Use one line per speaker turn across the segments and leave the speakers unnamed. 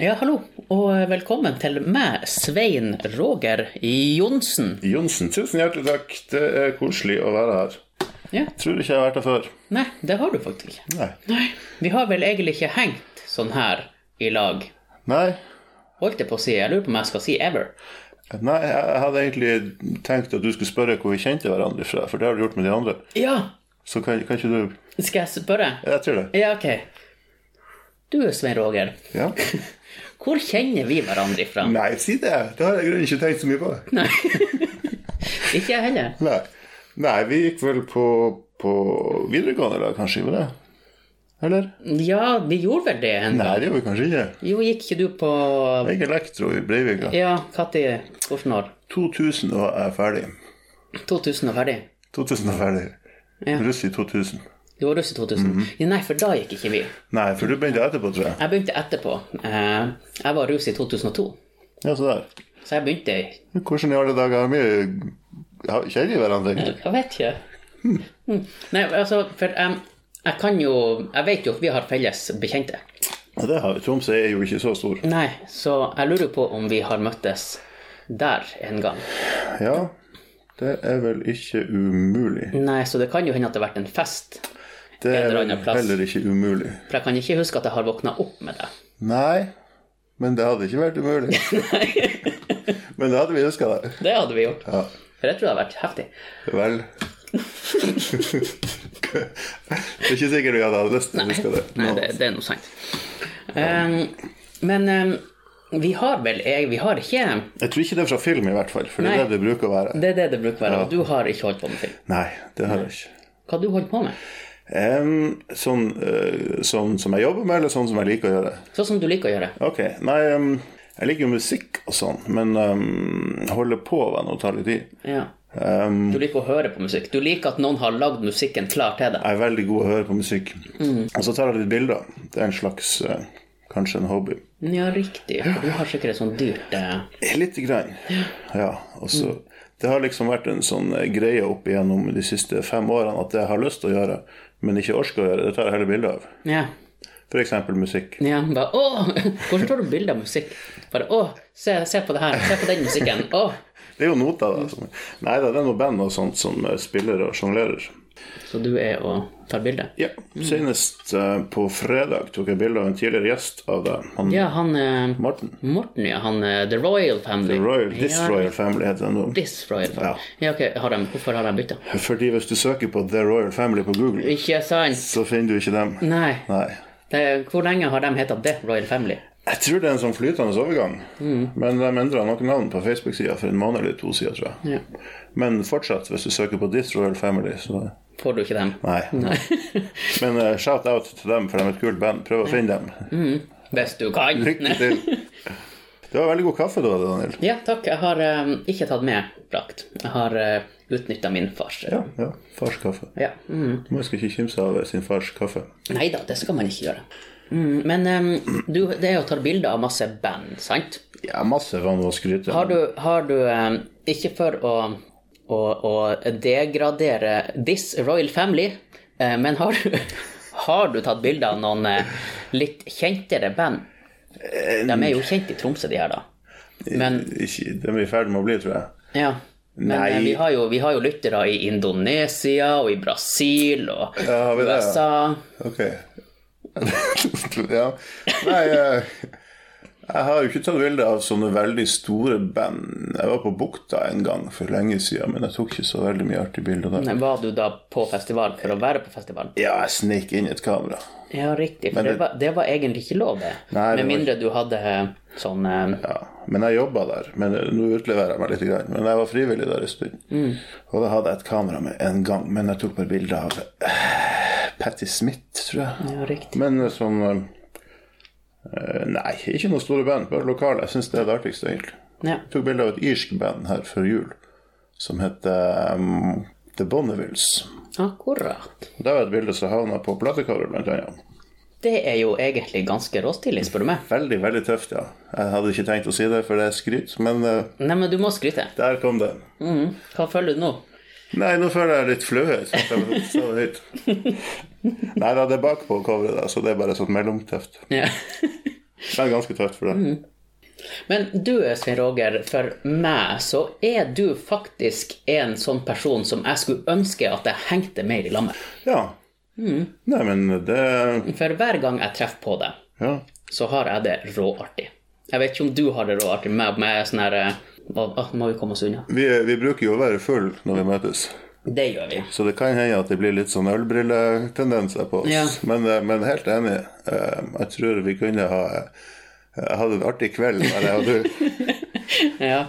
Ja, hallo, og velkommen til meg, Svein Roger Johnsen.
Johnsen, tusen hjertelig takk. Det er koselig å være her.
Ja.
Tror ikke jeg har vært her før.
Nei, det har du faktisk ikke.
Nei.
Nei, vi har vel egentlig ikke hengt sånn her i lag.
Nei,
Holdt jeg på å si, jeg lurer på om jeg skal si ever.
Nei jeg hadde egentlig tenkt at du skulle spørre hvor vi kjente hverandre fra, for det har du gjort med de andre.
Ja,
Så kan, kan ikke du
skal jeg spørre?
Jeg tror det.
Ja, ok. Du, Svein Roger,
Ja.
hvor kjenner vi hverandre ifra?
Nei, si det. Det har jeg i grunnen ikke tenkt så mye på.
Ikke jeg heller.
Nei, Nei vi gikk vel på, på videregående da, kanskje, var det? Eller?
Ja, vi gjorde vel det en
Nei,
gang.
det gjorde vi kanskje ikke.
Jo, gikk ikke du på
Jeg gikk elektro i Breivika.
Ja, når? Hvordan år?
2000 var jeg ferdig.
2000 og ferdig.
2000 var ferdig.
Ja.
Russ i 2000.
Du var russ i 2000. Ja, Nei, for da gikk ikke vi.
Nei, for du begynte etterpå, tror jeg.
Jeg begynte etterpå. Eh, Jeg var rus i 2002,
Ja, så der.
så jeg begynte i
Hvordan i alle dager har vi kjenner vi hverandre? egentlig?
Jeg vet ikke.
Hmm.
Mm. Nei, altså, for em, jeg kan jo Jeg vet jo at vi har felles bekjente.
Ja, det har vi. Tromsø er jo ikke så stor.
Nei, så jeg lurer på om vi har møttes der en gang.
Ja, det er vel ikke umulig.
Nei, så det kan jo hende at det har vært en fest.
Det
En
er
eller
vel
annen plass.
heller ikke umulig.
For jeg kan ikke huske at jeg har våkna opp med deg.
Nei, men det hadde ikke vært umulig. men det hadde vi huska, det.
Det hadde vi gjort.
Ja,
For det tror jeg hadde vært heftig.
vel. det er ikke sikkert vi hadde hatt lyst til å huske det.
Nei,
nå.
det, det er noe sant. Em, men em, vi har vel jeg, Vi har ikke
Jeg tror ikke det er fra film, i hvert fall. For det
Nei.
er det det bruker å være.
Det er det det bruker å være. Og du har ikke holdt på med film.
Nei, det har jeg ikke.
Hva har du holdt på med?
Em, sånn, eh, sånn som jeg jobber med, eller sånn som jeg liker å gjøre?
Sånn som du liker å gjøre.
Ok, nei, em, jeg liker jo musikk og sånn, men um, holde på var noe tar litt tid.
Ja. Du liker å høre på musikk. Du liker at noen har lagd musikken klar til deg.
Jeg er veldig god å høre på musikk. Og så tar jeg litt bilder. Det er en slags, eh, kanskje en hobby.
Ja, riktig. For du har sikkert et sånt dyrt eh,
Lite grann, ja. Og så, det har liksom vært en sånn eh, greie opp igjennom de siste fem årene at det jeg har lyst til å gjøre, men ikke orker å gjøre, det tar jeg heller bilder av.
Ja.
For eksempel musikk.
ja bare, Åh! Hvordan tar du bilde av musikk? Bare Å, se, se på det her. Se på den musikken. Å!
Det er jo noter, da. Som, nei da, det er noe band og sånt som eh, spiller og sjonglerer.
Så du er og tar bilde?
Ja, senest eh, på fredag tok jeg bilde av en tidligere gjest av deg, han
Ja, han eh,
Morten.
Morten, ja. Han eh, The Royal Family.
Royal, this
Ja,
Royal Family heter den nå.
This Royal Family. Ja, ok. Har de, hvorfor har de bytta?
Fordi hvis du søker på The Royal Family på Google,
Ikke sant?
så finner du ikke dem.
Nei.
Nei.
Det, hvor lenge har de heta The Royal Family?
Jeg tror det er en sånn flytende overgang,
Mm.
men de endra nok navn på Facebook-sida for en måned eller to siden, tror jeg. Men fortsatt, hvis du søker på This Royal Family, så
Får du ikke dem?
Nei. Men eh, shout out til dem, for de er et kult band. Prøv å finne
Mm.
dem.
Hvis du kan.
Lykke til. Det var veldig god kaffe du hadde, Daniel.
Ja, takk. Jeg har eh, ikke tatt med drakt. Jeg har uh, utnytta min fars.
Ja, ja. Fars kaffe.
Ja. Mm.
Man skal ikke kimse av sin fars kaffe.
Nei da, det skal man ikke gjøre. Mm, men eh, du, det er å ta bilder av masse band, sant?
Ja, masse vann å skryte.
Har du, har du eh, Ikke for å, å, å degradere this royal family, eh, men har du, har du tatt bilder av noen eh, litt kjentere band? De er jo kjent i Tromsø, de her, da. Men
Ikke, de er i ferd med å bli, tror jeg.
Ja. Men
Nei.
eh, vi har, jo, vi har jo lyttere i Indonesia og i Brasil og
Ja, har vi det, ja?
USA.
Ok. ja. Nei, eh, jeg har jo ikke tatt bilde av sånne veldig store band. Jeg var på Bukta en gang for lenge siden, men jeg tok ikke så veldig mye artig bilde der.
Nei, Var du da på festival for å være på festival?
Ja, jeg snek inn et kamera.
Ja, riktig. For det,
det-
var, det var egentlig ikke lov, det.
Nei,
Med
det var
mindre du hadde eh, sånn eh,
Ja, men jeg jobba der. Men eh, nå utleverer jeg meg litt. Grann. Men jeg var frivillig der en stund. Og da hadde jeg et kamera med en gang, men jeg tok bare bilde av eh, Patti Smith, tror jeg.
Ja, riktig.
Men eh, sånn eh, Nei, ikke noen store band, bare lokale. Jeg syns det er det artigste, egentlig.
Ja.
Jeg tok bilde av et irsk band her før jul som heter um, The Bonnevilles.
Akkurat.
Det var et bilde som havna på platecoveret, blant annet.
Det er jo egentlig ganske råstilig, spør du meg.
Veldig, veldig tøft, ja. Jeg hadde ikke tenkt å si det, for det er skryt, men eh,
Nei, men du må skryte.
der kom det.
Mhm. Hva føler du nå?
Nei, nå føler jeg litt flauhet. for at jeg sa det høyt. Nei da, det er bakpå coveret, da, så det er bare sånn mellomtøft.
Ja.
Det er ganske tøft for det.
Men du, Svein Roger, for meg så er du faktisk en sånn person som jeg skulle ønske at jeg hengte mer i lammet.
Ja. Nei, men det
For hver gang jeg treffer på deg,
Ja.
så har jeg det råartig. Jeg vet ikke om du har det råartig med, med sånn her eh, å, å, Må vi komme oss unna?
Vi, vi bruker jo å være full når vi møtes,
Det gjør vi.
så det kan hende at det blir litt sånn ølbrilletendenser på oss.
Ja.
Men, eh, men helt enig. Eh, Jeg tror vi kunne ha eh, Jeg hadde en artig kveld der jeg og du.
Ja.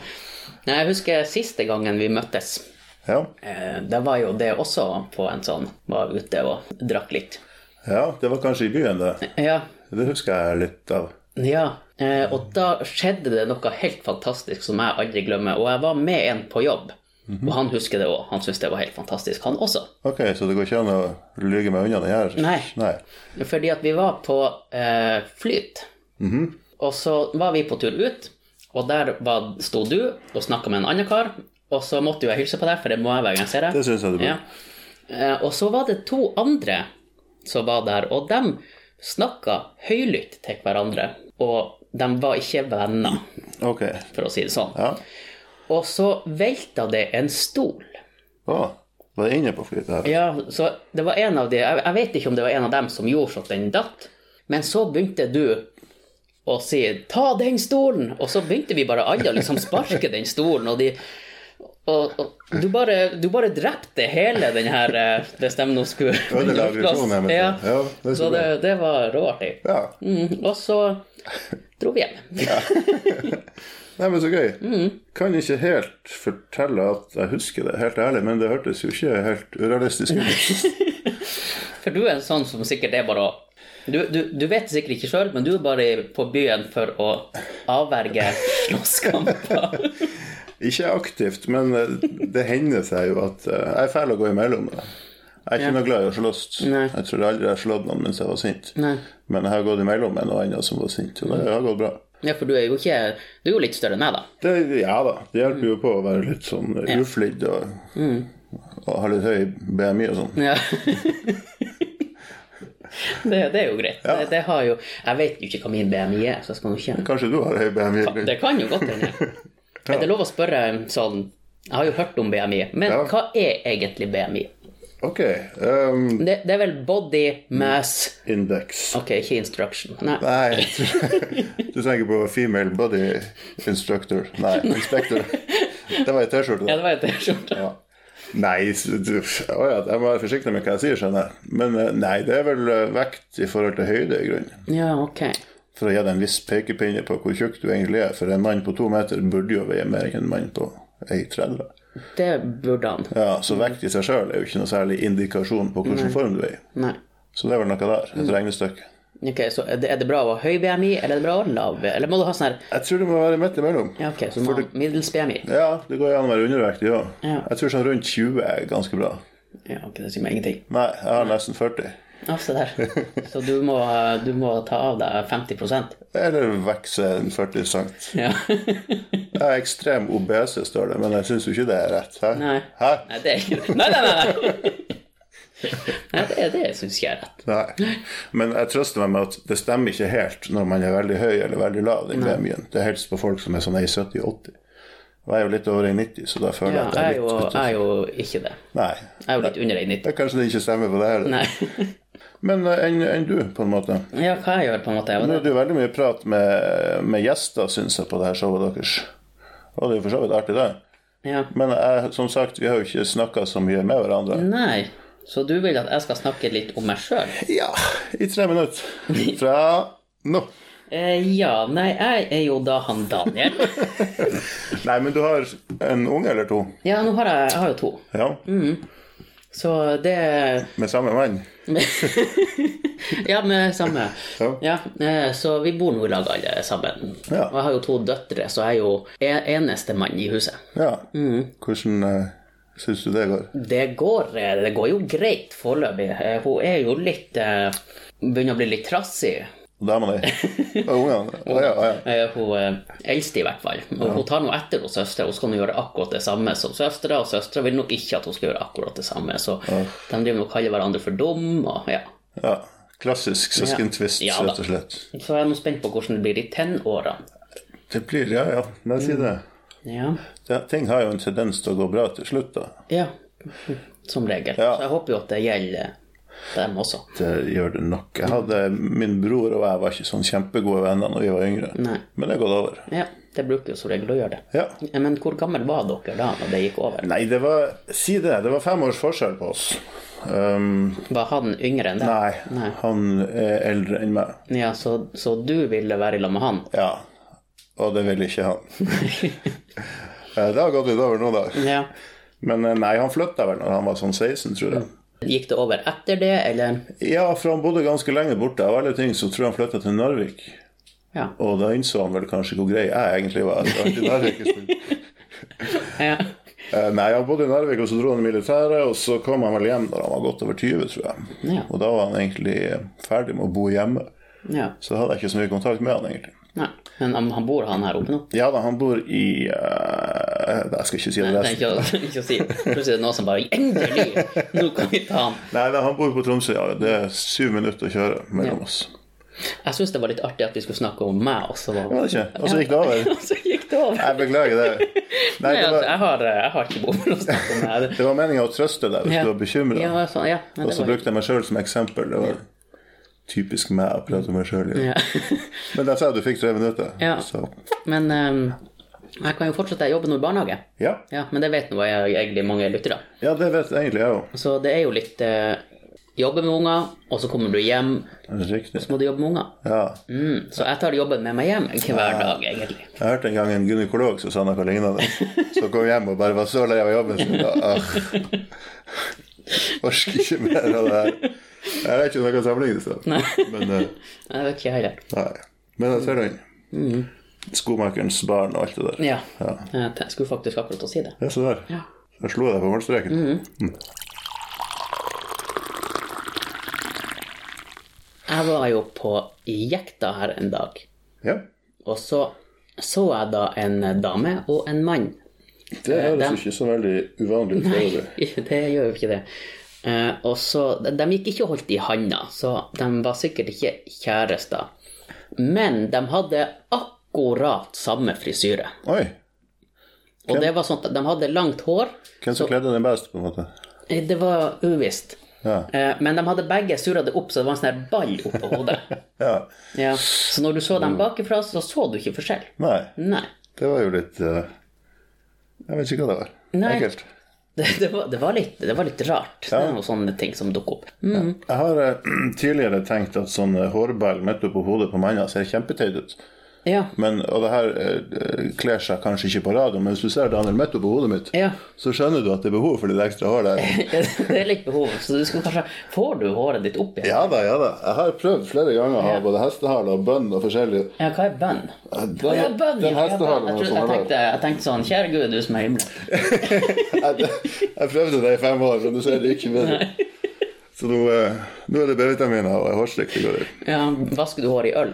Nei, Jeg husker siste gangen vi møttes.
Ja.
Eh, Det var jo det også på en sånn Var ute og drakk litt.
ja, det var kanskje i byen, det.
Ja.
Det husker jeg litt av.
ja. eh, Og da skjedde det noe helt fantastisk som jeg aldri glemmer. Og jeg var med en på jobb, og han husker det òg. Han syntes det var helt fantastisk, han også.
Ok, så det går ikke an å lyge meg unna den her?
Nei.
Nei.
Fordi at vi var på eh, flyt. Og så var vi på tur ut, og der var, sto du og snakka med en annen kar. Og så måtte jo jeg hilse på deg, for det må jeg hver gang jeg ser deg.
Det syns jeg du bør.
Ja. Eh, Og så var det to andre som var der, og de snakka høylytt til hverandre. Og de var ikke venner,
Ok.
for å si det sånn.
Ja.
Og så velta det en stol.
Å, var jeg inne på flyet her?
Ja, så det var en av de Jeg jeg vet ikke om det var en av dem som gjorde så at den datt, men så begynte du å si 'ta den stolen', og så begynte vi bare alle å liksom sparke den stolen, og de og, og du bare, du bare drepte hele den her eh, Hvis de nå skulle
Ødela aggresjonen her, mener
Ja.
jeg. Ja, det er så
Så det, det var råartig.
Ja.
Mm, og så dro vi hjem.
Nei, men så gøy.
Mm.
Kan ikke helt fortelle at jeg husker det, helt ærlig, men det hørtes jo ikke helt urealistisk ut.
For du er en sånn som sikkert er bare å du, du, du vet det sikkert ikke sjøl, men du er bare på byen for å avverge slåsskamper.
ikke aktivt, men eh, det hender seg jo at eh, Jeg er fæl å gå imellom. Da. Jeg er ikke noe glad i å slåss.
Nei.
Jeg tror aldri jeg har slått noen mens jeg var sint.
Nei.
Men jeg har gått imellom med noen andre som var sint, og det har gått bra.
Ja, for du er jo ikke Du er jo litt større enn meg, da.
Det, ja da, det hjelper jo på å være litt sånn eh, uflidd og, og ha litt høy BMI og sånn.
Mm. Ja. Det, det er jo greit. Det, det har jo Jeg vet jo ikke hva min BMI er, så jeg skal nå ikke
Kanskje du har høy BMI? Brynn?
Det kan jo godt hende. Er det lov å spørre sånn Jeg har jo hørt om BMI, men
Ja.
hva er egentlig BMI?
Ok. Um,
Det, det er vel body mass
Indeks.
Ok, ikke instruction. Nei.
Nei, jeg tror- du tenker på female body instructor. Nei, inspector. Det var ei T-skjorte.
Ja,
da.
det var en T-skjorte.
Ja. Nei, s- du- å ja, jeg må være forsiktig med hva jeg sier, skjønner jeg. Men eh, nei, det er vel eh, vekt i forhold til høyde, i grunnen.
Ja, ok.
For å gi deg en viss pekepinne på hvor tjukk du egentlig er. For en mann på to meter burde jo veie mer enn en mann på 1,30.
Det burde han.
Ja, så vekt i seg sjøl er jo ikke noe særlig indikasjon på
Mm.
hvilken form du er i.
Nei.
Så det er vel noe der.
Mm.
Et regnestykke.
Ok, så er det, er det bra å ha høy BMI, eller er det bra å ha lav? Eller må du ha sånn her
Jeg tror det må være midt imellom.
Ja, ok, så du må ha middels BMI.
Ja, det går jo an å være undervektig òg.
Ja.
Jeg tror sånn rundt 20 er ganske bra.
Ja, ok, det sier meg ingenting.
Nei, jeg har nesten 40.
Ja, se der. Så du må, du må ta av deg 50
Eller vokse en 40 cent.
Ja.
Jeg er ekstrem obese, står det, men jeg syns jo ikke det er rett. Hæ?
Nei.
Hæ?
Nei, det er ikke det. Nei, nei, nei! nei. Nei, det, er- det syns jeg er rett.
Nei. Men jeg trøster meg med at det stemmer ikke helt når man er veldig høy eller veldig lav. den BMI-en. Det helst på folk som er sånn 1,70-80. Og jeg er jo litt over 1,90, så da føler
Ja,
jeg at
jeg er
jeg er
jo,
litt
jeg er jo ikke det.
Nei.
Jeg er jo litt under 1,90.
Det er kanskje det ikke stemmer på det her.
Nei.
Men eh, enn enn du, på en måte.
Ja, hva jeg gjør, på en måte.
Nå
Ja,
er det jo veldig mye prat med, med gjester, syns jeg, på det her showet deres. Og det er jo for så vidt artig, det.
det- ja.
Men jeg, som sagt, vi har jo ikke snakka så mye med hverandre.
Nei. Så du vil at jeg skal snakke litt om meg sjøl?
Ja, i tre minutter. Fra nå.
Eh, ja, nei, jeg er jo da han Daniel.
Nei, men du har en unge eller to?
Ja, nå har jeg, jeg har jo to.
Ja.
Så det
Med samme mann?
Ja, med samme.
Ja.
Ja, eh, så vi bor nå i lag alle sammen.
Ja.
Og jeg har jo to døtre, så jeg er jo en- eneste mann i huset.
Ja. Hvordan uh, syns du det går?
Det går, eh, det går jo greit foreløpig. Eh, Hun er jo litt eh, Begynner å bli litt trassig.
Dama di? Og ungene? Å ja, å ja.
Eh, Hun eh, eldste, i hvert fall. Og Hun tar nå etter hos søstera. Hun skal nå gjøre akkurat det samme som søstera, og søstera vil nok ikke at hun skal gjøre akkurat det samme. Så de driver nok og kaller hverandre for dum, og ja.
ja. Klassisk søskentvist,
Ja. Ja da.
rett og slett.
Så er jeg nå spent på hvordan det blir i tenårene.
Det blir, ja, ja. Nei, si det.
Ja.
Ja, ting har jo en tendens til å gå bra til slutt, da.
ja, som regel.
Ja.
Så jeg håper jo at det gjelder dem også.
Det eh, gjør det nok. Jeg hadde, min bror og jeg var ikke sånn kjempegode venner da vi var yngre,
Nei.
men det har gått over.
Ja, det bruker jo som regel å gjøre det.
Ja.
Men hvor gammel var dere da når det gikk over?
Nei, det var Si det, det var fem års forskjell på oss. Um,
Var han yngre enn deg?
nei, han er eldre enn meg.
Ja, så, så du ville være i lag med han?
Ja. Og det ville ikke han. Eh, det har gått litt over nå, da.
Ja.
Men eh, nei, han flytta vel når han var sånn 16, tror jeg.
Gikk det over etter det, eller?
Ja, for han bodde ganske lenge borte. Av alle ting så tror jeg han flytta til Narvik.
Ja.
Og da innså han vel kanskje hvor grei jeg egentlig var. Jeg var ikke i Narvik en stund.
ja.
Eh, Nei, han bodde i Narvik, og så dro han i militæret, og så kom han vel hjem da han var godt over 20, tror jeg.
Ja.
Og da var han egentlig eh, ferdig med å bo hjemme.
ja.
Så da hadde jeg ikke så mye kontakt med han, egentlig.
Nei. Men han- han bor han her oppe nå?
Ja da, han bor i eh, Jeg skal ikke si det
Nei,
resten.
ikke, å- ikke å si. Plutselig er det noen som bare Endelig! Nå kan vi ta han.
Nei, da, han bor på Tromsø, ja. Det er syv minutter å kjøre mellom oss.
Jeg syns det var litt artig at vi skulle snakke om meg, og så
Var det ikke? Og så gikk det over.
Og så gikk det over.
Jeg beklager det. Nei,
Nei,
det
altså,
var,
jeg, har, jeg har ikke behov for å snakke om det.
det var meninga å trøste deg hvis du var bekymra.
Ja, sånn, ja. Nei,
Og
det
så
var,
brukte jeg meg sjøl som eksempel. Det var typisk meg å prate om meg sjøl.
ja.
Men jeg sa du fikk tre minutter.
Ja.
Så
Men ehm, jeg kan jo fortsette. Jeg jobber nå i barnehage.
ja.
Ja, Men det vet nå jeg- egentlig mange lyttere.
ja, det vet egentlig jeg òg.
Så det er jo litt eh, Jobbe med unger, og så kommer du hjem,
Riktig.
så må du jobbe med unger.
Ja.
Mm, så jeg tar jobben med meg hjem hver dag, egentlig.
Jeg hørte en gang en gynekolog som sa noe lignende. Så kom jeg hjem og bare var så lei av jobben sin. da, «Åh, Orker ikke mer av det her. Jeg vet ikke om jeg kan sammenligne det. Men, eh,
Jeg vet ikke heller.
nei. Men jeg ser den. Skomakerens barn og alt det der.
Mm. Ja. Jeg te- skulle faktisk akkurat å si det.
Ja, se der.
Ja. Mm.
Jeg slo deg på målstreken.
Jeg var jo på jekta her en dag,
Ja.
og så så jeg da en dame og en mann
Det høres ikke så veldig uvanlig ut foreløpig.
Det gjør jo ikke det. Eh, og så, de, de gikk ikke og holdt i handa, så de var sikkert ikke kjærester. Men de hadde akkurat samme frisyre.
Oi.
Og det var sånn at de hadde langt hår.
Hvem som kledde den best, på en måte?
Eh, Det var uvisst.
Ja.
Eh, men de hadde begge surra det opp, så det var en sånn her ball oppå hodet.
ja.
ja. Så når du så dem bakifra, så så du ikke forskjell.
Nei.
Nei.
Det var jo litt eh, Jeg vet ikke hva det var.
Nei.
Ekkelt.
Det, det, var, det, var litt, det var litt rart. Det er noen sånne ting som dukker opp. Mm.
Jeg har eh, tidligere tenkt at sånn eh, hårball midt oppå hodet på manner ser kjempeteit ut.
Ja.
Men, og det her eh, kler seg kanskje ikke på radio, men hvis du ser Daniel midt oppå hodet mitt,
Ja.
så skjønner du at det er behov for litt ekstra hår der.
Ja, det er litt behov. Så du skulle kanskje Får du håret ditt opp igjen?
Ja da, ja da. Jeg har prøvd flere ganger å ha både hestehale og bønn og forskjellig.
Ja, hva er bønn?
Den,
Å, ja, bønn!
den
ja, ja, bønn.
hestehalen
Jeg,
var
trodde-
sånn
jeg,
her.
tenkte, jeg tenkte sånn Kjære Gud, du som er i himmelen.
jeg, jeg prøvde det i fem år, men du ser det ikke bedre. Så nå, eh, nå er det B-vitaminer og hårstrikk det går i.
Ja, vasker du håret i øl?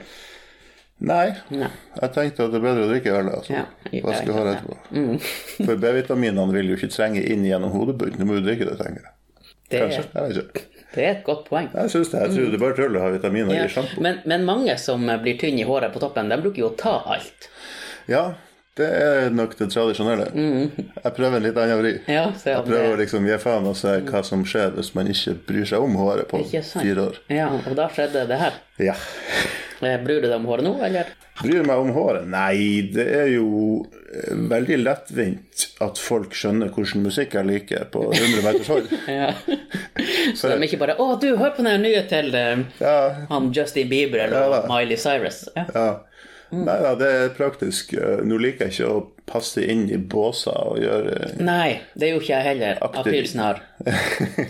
Nei,
Nei.
jeg tenkte at det er bedre å drikke øl. Altså.
Ja, jeg- jeg-
Vaske håret etterpå.
Mm.
For B-vitaminene vil jo ikke trenge inn gjennom hodebunnen. Du må jo drikke det, tenker jeg.
Det,
Kanskje. Jeg vet ikke.
det er et godt poeng.
Jeg synes det. Jeg tror det er bare tull å ha vitaminer
Ja.
i sjampo.
Men, men mange som blir tynne i håret på toppen, de bruker jo å ta alt.
Ja, det er nok det tradisjonelle. Jeg prøver en litt annen vri.
Ja, så ja,
Jeg prøver å
Mm. det,
liksom gi faen og se hva som skjer hvis man ikke bryr seg om håret på
Ikke sant.
fire år.
ja, og da skjedde det her.
Ja.
Eh, Bryr du deg om håret nå, eller?
Bryr meg om håret? Nei, det er jo eh, veldig lettvint at folk skjønner hvilken musikk jeg liker på 100 meters hold.
Ja. Så de ikke bare 'Å, du, hør på den nye til eh,
Ja,
han Justin Bieber eller Miley Cyrus'. Ja.
ja.
Mm.
Nei da, det er praktisk. Eh, Nå liker jeg ikke å passe inn i båser og gjøre
Nei, det er jo ikke jeg heller.
Aktiv.
Aprilsen har.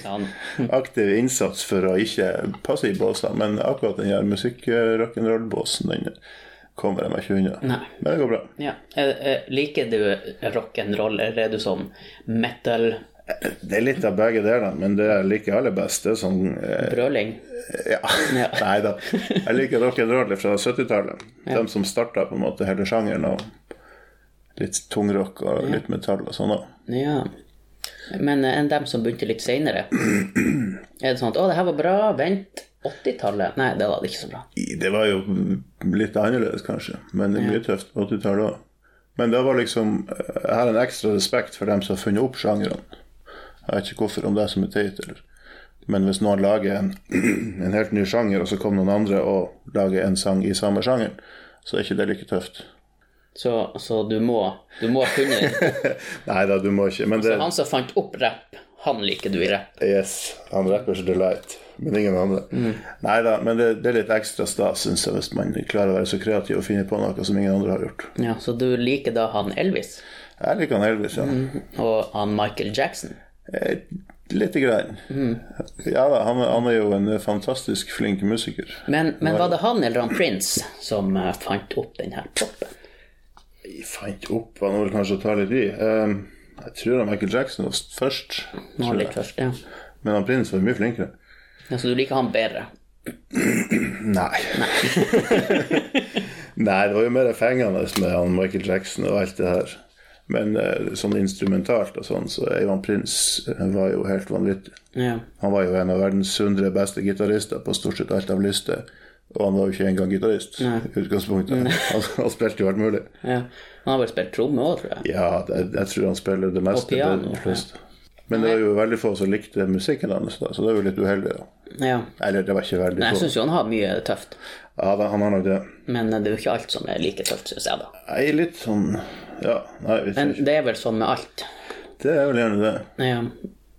Sånn.
eh, aktiv innsats for å ikke passe i båser, men akkurat den her musikk-rock'n'roll-båsen, den kommer jeg meg ikke unna.
Nei.
Men det går bra.
Ja. Eh, eh, Liker du rock'n'roll, eller er du sånn metal,
Det er litt av begge delene, men det jeg liker aller best, det er sånn eh,
brøling?
Ja. Nei da. Jeg liker rock'n'roll fra 70-tallet. De som starta på en måte hele sjangeren. og Litt tungrock og litt metall og sånn. da.
Ja. Men eh, enn dem som begynte litt seinere? Er det sånn at 'Å, det her var bra, vent', 80-tallet Nei, det var det ikke så bra.
Det var jo litt annerledes, kanskje, men det er mye tøft på 80-tallet òg. Men det var liksom Jeg har en ekstra respekt for dem som har funnet opp sjangeren. Jeg vet ikke hvorfor, om det er som er teit, eller Men hvis noen lager en, en helt ny sjanger, og så kommer noen andre og lager en sang i samme sjangeren, så er ikke det like tøft.
Så, så du må Du må kunne
Nei da, du må ikke Men det
Altså, Han som fant opp rapp, han liker du i rapp.
Yes. Han rappers delight, men ingen andre. Nei da, men det, det er litt ekstra stas, syns jeg, hvis man klarer å være så kreativ og finne på noe som ingen andre har gjort.
Ja, så du liker da han Elvis
Jeg liker han Elvis, ja.
og han Michael Jackson.
Eh, Lite grann. Ja da, han, han er jo en eh, fantastisk flink musiker.
Men, men var det han eller han Prince som eh, fant opp den her popen?
Jeg fant opp han var kanskje å ta litt i. Ehm, jeg tror han Michael Jackson var først,
Nå
tror
litt
jeg.
først, ja.
men han Prins var mye flinkere.
ja. Så du liker han bedre?
Nei. Nei, det var jo mer fengende med han Michael Jackson og alt det her. Men eh, sånn instrumentalt og sånn, så er jo han prins eh, var jo helt vanvittig.
Ja.
Han var jo en av verdens 100 beste gitarister på stort sett alt av liste. Og han var jo ikke engang gitarist i utgangspunktet. Han, han spilte jo alt mulig.
ja. Han har vel spilt tromme òg, tror jeg.
Ja, jeg, jeg tror han spiller det meste.
piano,
det er de fleste. Men det var jo veldig få som likte musikken hans, da, så det er jo litt uheldig. da.
Ja.
Eller det var ikke veldig
Jeg
få.
syns jo han har mye tøft,
Ja, da, han har nok det.
men det er jo ikke alt som er like tøft, syns jeg, da.
Jeg er litt sånn Ja, nei, jeg vet
Men
ikke.
det er vel sånn med alt.
Det er vel gjerne det.
Ja.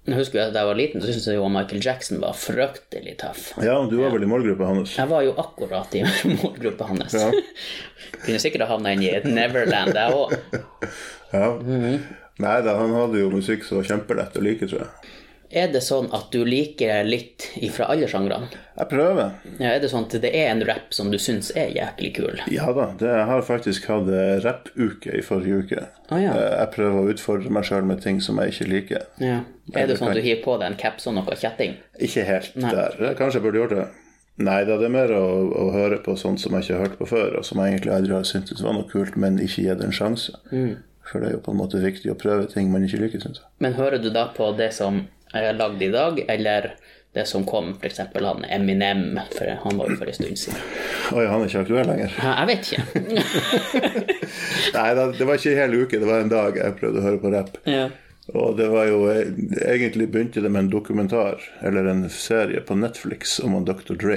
Jeg husker jo at da jeg var liten, så syntes jeg jo Michael Jackson var fryktelig tøff.
Ja, du var vel i målgruppa hans?
Jeg var jo akkurat i målgruppa hans.
Ja.
Kunne sikkert ha havna inn i et Neverland, jeg òg.
ja.
Mhm.
Nei da, han hadde jo musikk som var kjempelett å like, tror jeg.
Er det sånn at du liker litt ifra alle sjangrene?
Jeg prøver.
Ja, er det sånn at det er en rap som du syns er jæklig kul?
Ja da, det, jeg har faktisk hatt eh, rappuke i forrige uke.
Å, ja.
Eh, Jeg prøver å utfordre meg sjøl med ting som jeg ikke liker.
Ja. Er det sånn at du hiver på deg en caps og noe kjetting?
Ikke helt der. Kanskje jeg burde gjort det. Nei da, det er mer å, å høre på sånt som jeg ikke har hørt på før, og som jeg egentlig aldri har syntes var noe kult, men ikke gi det en sjanse.
Mm.
For det er jo på en måte viktig å prøve ting man ikke liker, syns jeg.
Men hører du da på det som er lagd i dag, eller det som kom f.eks. han Eminem, for han var jo for en stund siden?
Oi, han er ikke aktuell lenger.
Ja, Jeg vet ikke.
Nei da, det var ikke en hel uke, det var en dag jeg prøvde å høre på rapp.
Ja.
Og det var jo eh, Egentlig begynte det med en dokumentar, eller en serie på Netflix om han Dr. Dre.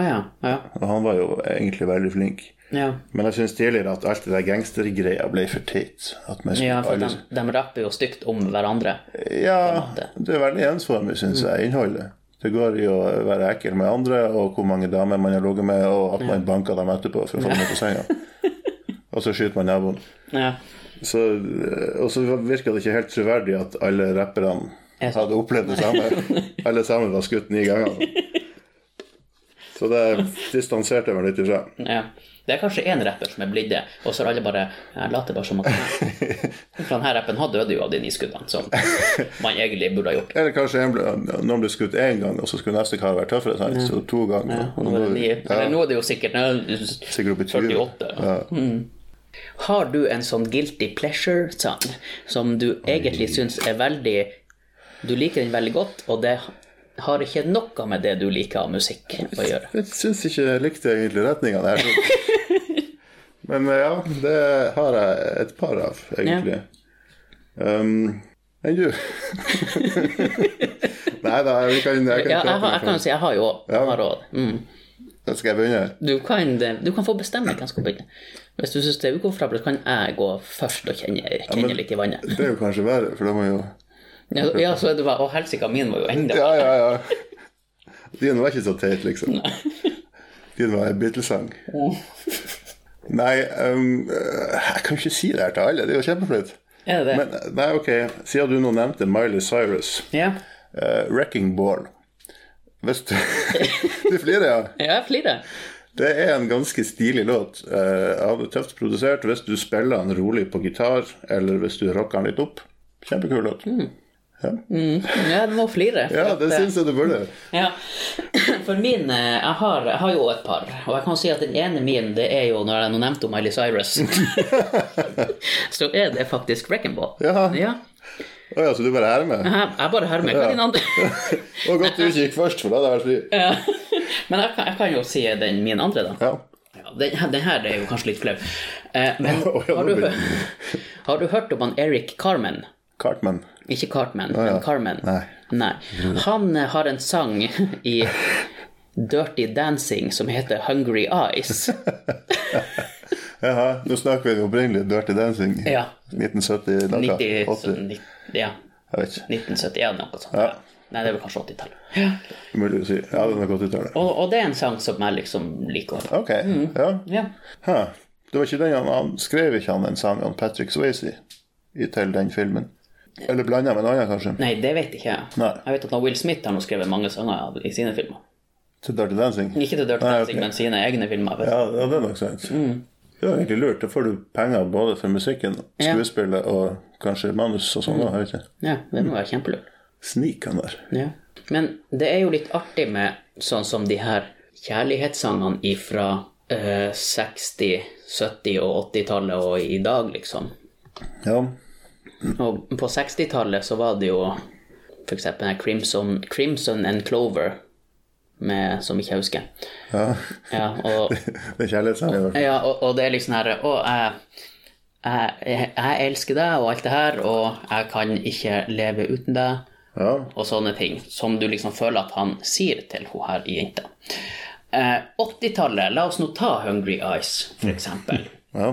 Å ja. Ja.
Og han var jo egentlig veldig flink.
ja.
Men jeg syns tidligere at alt det der gangstergreia ble for teit. At man skulle
Ja, for de,
alle-
de rapper jo stygt om hverandre.
Ja, det er veldig ensformig, syns jeg, innholdet. Det går i å være ekkel med andre, og hvor mange damer man har ligget med, og at man banker dem etterpå for å få dem ned på senga. Og så skyter man naboen.
Ja.
Så, og så virka det ikke helt troverdig at alle rapperne
Jeg-
hadde opplevd det samme. Alle sammen var skutt ni ganger. Så det distanserte jeg meg litt ifra.
ja. Det er kanskje én rapper som er blitt det, og så har alle bare Jeg later bare som at For denne rappen han døde jo av de ni skuddene, som man egentlig burde ha gjort.
Eller kanskje en ble, noen ble skutt én gang, og så skulle neste kar være tøffere. Sant? Så to ganger.
Og nå er det ni. Eller nå er det jo sikkert eh, nå-
Sikkert opp i 20.
48. Har du en sånn guilty pleasure-sang som du egentlig syns er veldig Du liker den veldig godt, og det har ikke noe med det du liker av musikk å gjøre?
Jeg syns ikke jeg likte egentlig retninga der. Men eh, ja, det har jeg et par av, egentlig. Um, enn du? Nei da, jeg kan, jeg kan
Ja, jeg,
prate
har, jeg kan jo
med-
si jeg har jo har råd. Mm.
Skal jeg begynne?
Du, kan, du kan få bestemme hvem som skal begynne. Hvis du syns det er ukomfortabelt, kan jeg gå først og kjenne, kjenne litt i vannet.
Det er jo kanskje verre, for da må jo
Ja, så- ja, så er det bare Å, helsike, min var jo enda
Ja, ja, ja. Din var ikke så teit, liksom. Din var en Beatles-sang.
Hmm.
Nei, um, jeg kan jo ikke si det her til alle. Det er jo kjempeflaut.
Er det det?
Men nei, ok, siden du nå nevnte Miley Cyrus,
Ja.
eh, 'Wrecking Ball' Hvis du, du flirer, ja.
ja, jeg flirer.
Det er en ganske stilig låt. Eh, av det tøft produsert. Hvis du spiller den rolig på gitar, eller hvis du rocker den litt opp. Kjempekul låt.
Ja, du må flire. for
Ja,
at,
det
eh,
syns jeg du burde.
Ja. For min eh, jeg har, jeg har jo et par, og jeg kan si at den ene min, det er jo når jeg nå nevnte om Miley Cyrus, så er det faktisk Wrecking Ball.
Ja.
Ja.
Å ja, så du bare er med?
Jeg, jeg bare hermer. Hva er din andre?
Og godt du ikke gikk først, for da hadde jeg vært fri.
Men jeg kan, jeg kan jo si den min andre, da.
Ja.
Ja, den, her- den her er jo kanskje litt flau. Eh, men
Å, ja,
har
nå
du,
blir
har du hørt om han Eric Carmen?
Cartman.
Ikke Cartman,
ja.
men Carmen.
Nei.
Nei. Han eh, har en sang i Dirty Dancing som heter Hungry Eyes.
Jaha, nå snakker vi opprinnelig Dirty Dancing.
Ja.
1970, noe.
90,
80,
sånn nitt- ja,
jeg vet ikke.
1971, noe sånt.
Ja.
Nei, det er vel kanskje 80-tallet.
Umulig å si. Ja, det er nok 80-tallet.
Og, og det er en sang som jeg liksom liker.
Ok, ja.
Ja.
Hæ. Det var ikke den han, han skrev ikke han en sang om Patrick Swayze i- til den filmen? Eller blanda med en annen, kanskje?
Nei, det vet ikke jeg.
Nei.
Jeg vet at han Will Smith har nå skrevet mange sanger av- i sine filmer.
Til Dirty Dancing?
Ikke til Dirty
Nei,
Dancing,
ok.
men Mm. sine egne filmer. Vet. du.
Ja, ja, det er nok sant. Det var egentlig lurt. Da får du penger både for musikken,
Ja. Mm.
skuespillet og kanskje manus og sånn. da, Jeg vet ikke.
Ja, det må være kjempelurt.
Snik han der.
Ja. Men det er jo litt artig med sånn som de her kjærlighetssangene ifra eh, 60-, 70- og 80-tallet og i dag, liksom.
Ja.
Og på 60-tallet så var det jo for eksempel den her Crimson, Crimson and Clover, med, som ikke jeg husker.
ja.
Ja, og,
Det er kjærlighetssangen. i hvert fall.
ja, og, og det er liksom her Å, jeg, jeg, jeg, jeg elsker deg og alt det her, og jeg kan ikke leve uten deg.
Ja.
og sånne ting, som du liksom føler at han sier til hun her jenta. Eh, 80-tallet, la oss nå ta Hungry Eyes, for eksempel.
ja.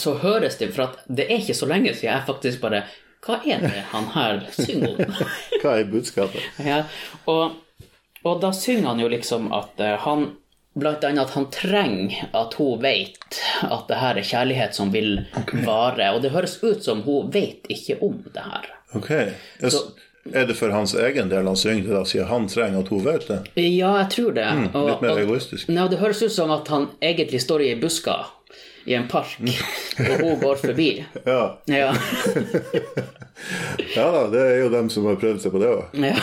Så høres det, for at det er ikke så lenge siden jeg faktisk bare Hva er det han her synger om?
Hva er budskapet?
ja, og, og da synger han jo liksom at eh, han Blant annet at han trenger at hun vet at det her er kjærlighet som vil vare. Og det høres ut som hun vet ikke om det her.
Ok. Jeg, s-
Så-
er det for hans egen del han synger det, da, siden han trenger at hun vet det?
Ja, jeg tror det. Og-
Mm, Litt mer
og-
egoistisk.
Nei, det høres ut som at han egentlig står i ei buska i en park, og hun går forbi.
Mm. Ja.
Ja.
ja da, det er jo dem som har prøvd seg på det òg.
ja.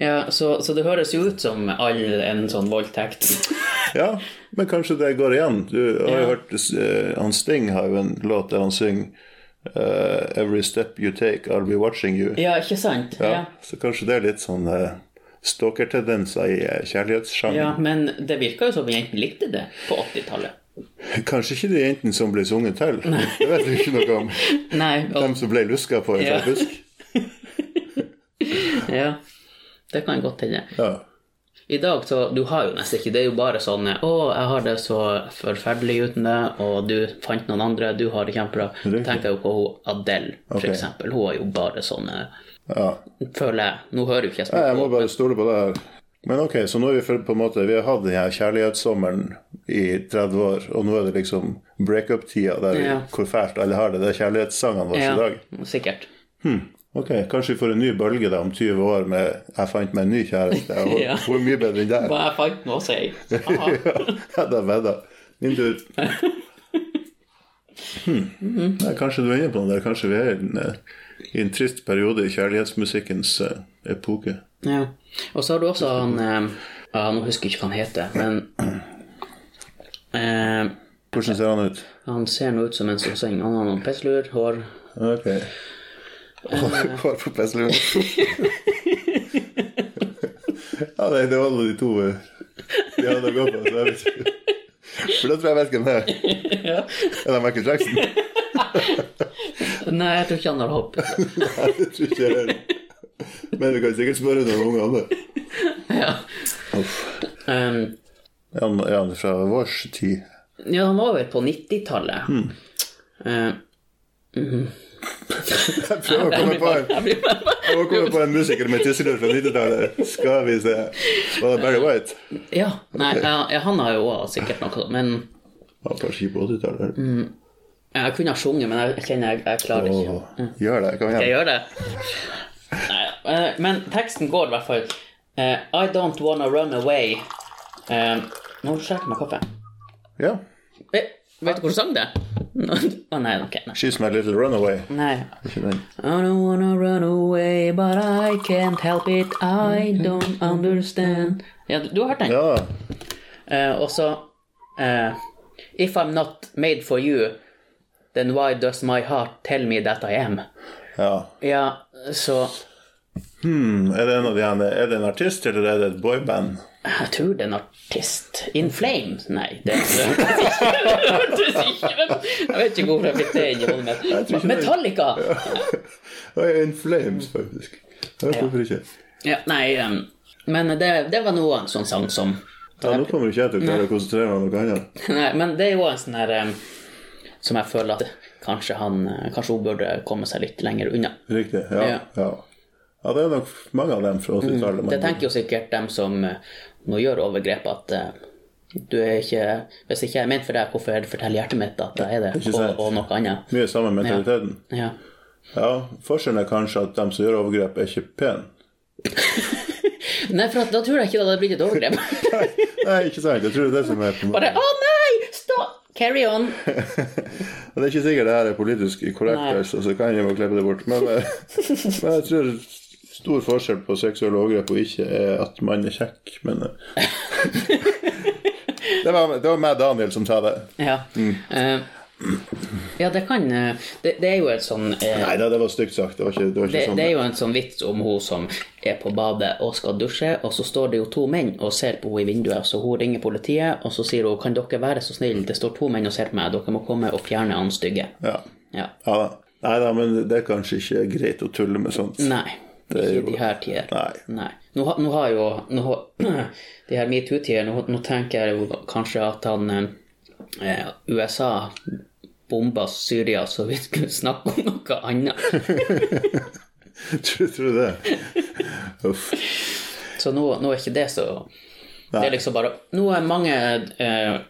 ja så, så det høres jo ut som all en sånn voldtekt.
Ja, men kanskje det går igjen. Du har jo hørt eh, han Sting har jo en låt der han synger eh, 'Every step you take, I'll be watching you'.
Ja, ikke sant?
Ja, så kanskje det er litt sånn eh, stalkertendenser i eh,
Ja,
kjærlighetssjangeren.
Men det virka jo som om jentene likte det på 80-tallet.
Kanskje ikke de jentene som ble sunget til, det vet vi ikke noe om.
Nei, og,
Dem som ble luska på,
Ja.
ja. faktisk.
ja. Det kan godt hende.
Ja.
I dag så, du har jo nesten ikke, det er jo bare sånn Å, jeg har det så forferdelig uten deg, og du fant noen andre, du har det kjempebra.
Riktig.
Tenk deg jo på hun Adele, for
Ok.
eksempel. Hun er jo bare sånn eh,
ja.
Føler jeg. Nå hører jo ikke jeg
Nei, jeg
spille
må bare stole på det her. Men ok, så nå er vi for- på en måte Vi har hatt den her kjærlighetssommeren i 30 år, og nå er det liksom breakup-tida, der
Ja.
hvor fælt alle har det. Det er kjærlighetssangene våre i dag.
Ja, sikkert.
Ok, Kanskje vi får en ny bølge da om 20 år med 'jeg fant meg en ny kjæreste'. og
Ja.
Hun er mye bedre enn deg.
Hva jeg fant nå, sier jeg. Aha.
Ja, da vedder jeg. Min tur. Hmm.
Mm-hmm.
Nei, kanskje du er inne på noe der. Kanskje vi er i en, eh, i en trist periode i kjærlighetsmusikkens eh, epoke.
Ja. Og så har du også han eh, ja, Nå husker jeg ikke hva han heter, men eh,
Hvordan ser han ut?
Han ser nå ut som en som synger. Han har noen pestluer, hår
Ok. Hår på Pesselund. ja, nei, det var nå de to eh, de hadde å gå på. Så jeg vet ikke. For da tror jeg jeg vet hvem det er.
ja.
Er det Michael Jackson?
Nei, jeg tror ikke han har hopp.
Nei, det tror ikke jeg heller. Men du kan sikkert spørre noen unge om det.
ja.
Uff.
Um,
Er han, er han fra vår tid?
Ja, han var vel på 90-tallet. Eh,
Jeg prøver å komme på en,
jeg blir bare-
jeg må komme på en musiker med tisselyd fra 90-tallet. Skal vi se. Var det Barry White?
ja, nei, ja, han har jo også sikkert noe sånt, men
Ja, kanskje ikke på 80-tallet.
jeg kunne ha sunget, men jeg kjenner jeg, jeg klarer ikke.
Åh, Gjør det. Kom
Jeg
igjen.
gjør det. Nei, eh, men teksten går i hvert fall. eh, I don't wanna run away. Eh, nå skjærer jeg meg kaffe.
Ja.
Eh, vet du hvor du sang det? Å nei, ok. Nei.
She's my little runaway.
nei.
Ikke den.
I don't wanna run away, but I can't help it. I don't understand. Ja, du, du har hørt den?
Ja.
Eh, og så eh, If I'm not made for you, then why does my heart tell me that I am?
ja.
Ja, så
Hmm, er, det en av de, her- er det en artist, eller er det et boyband?
Jeg tror det er en artist. In Flames? Nei, det er det hørtes ikke ut. Jeg vet ikke hvorfor jeg fikk det inn i hodet
Jeg tror
mitt.
ikke det.
Metallica!
Oi, In Flames, faktisk. Jeg vet hvorfor ikke.
Ja, nei, em, men det, det var noe en sånn sang som
Ja, nå kommer ikke jeg til å klare å konsentrere meg om noe annet.
Nei, men det er jo en sånn her em, som jeg føler at kanskje, han, eh, kanskje hun burde komme seg litt lenger unna.
Riktig. Ja.
Ja. Mm.
ja. ja det er nok mange av dem fra 80-tallet.
Det
men-
tenker jo sikkert dem som eh, nå gjør overgrep, at eh, du er ikke Hvis ikke jeg er ment for deg, hvorfor forteller hjertet mitt at jeg er det,
Ikke
og,
sant.
og noe annet?
Mye samme mentaliteten.
Ja.
Ja, Forskjellen er kanskje at dem som gjør overgrep, er ikke pen.
Nei, for at, da tror jeg ikke det hadde blitt et overgrep.
Nei, ikke sant. Jeg tror det er det som er på en måte-
Bare Å nei! Stopp! Carry on!
Det er ikke sikkert det her er politisk korrekt,
Nei.
altså, så kan jeg jo klippe det bort. Men, eh, men jeg tror stor forskjell på seksuelle overgrep og ikke er at man er kjekk, men eh. det, var, det var meg, Daniel, som sa det.
Ja.
Mm.
Eh, ja, det kan eh, det, det er jo et sånn eh,
Nei, det, det var stygt sagt. Det var ikke, det var ikke
det,
sånn.
det er jo en sånn vits om hun som er på badet og skal dusje, og så står det jo to menn og ser på henne i vinduet. Så hun ringer politiet, og så sier hun kan dere være så snill, det står to menn og ser på meg, dere må komme og fjerne han stygge.
Ja.
Ja.
ja da. Nei da, men det er kanskje ikke greit å tulle med sånt.
Nei.
Det er
Ikke i
jo-
de her tider.
Nei.
Nå, ha- nå har jo nå, har- De her metoo-tider, nå, nå tenker jeg jo kanskje at han eh, USA bomba Syria, så vi skulle snakke om noe annet.
Tror tror du det? Uff.
Så nå, nå er ikke det så Det
Nei.
er liksom bare Nå er mange eh,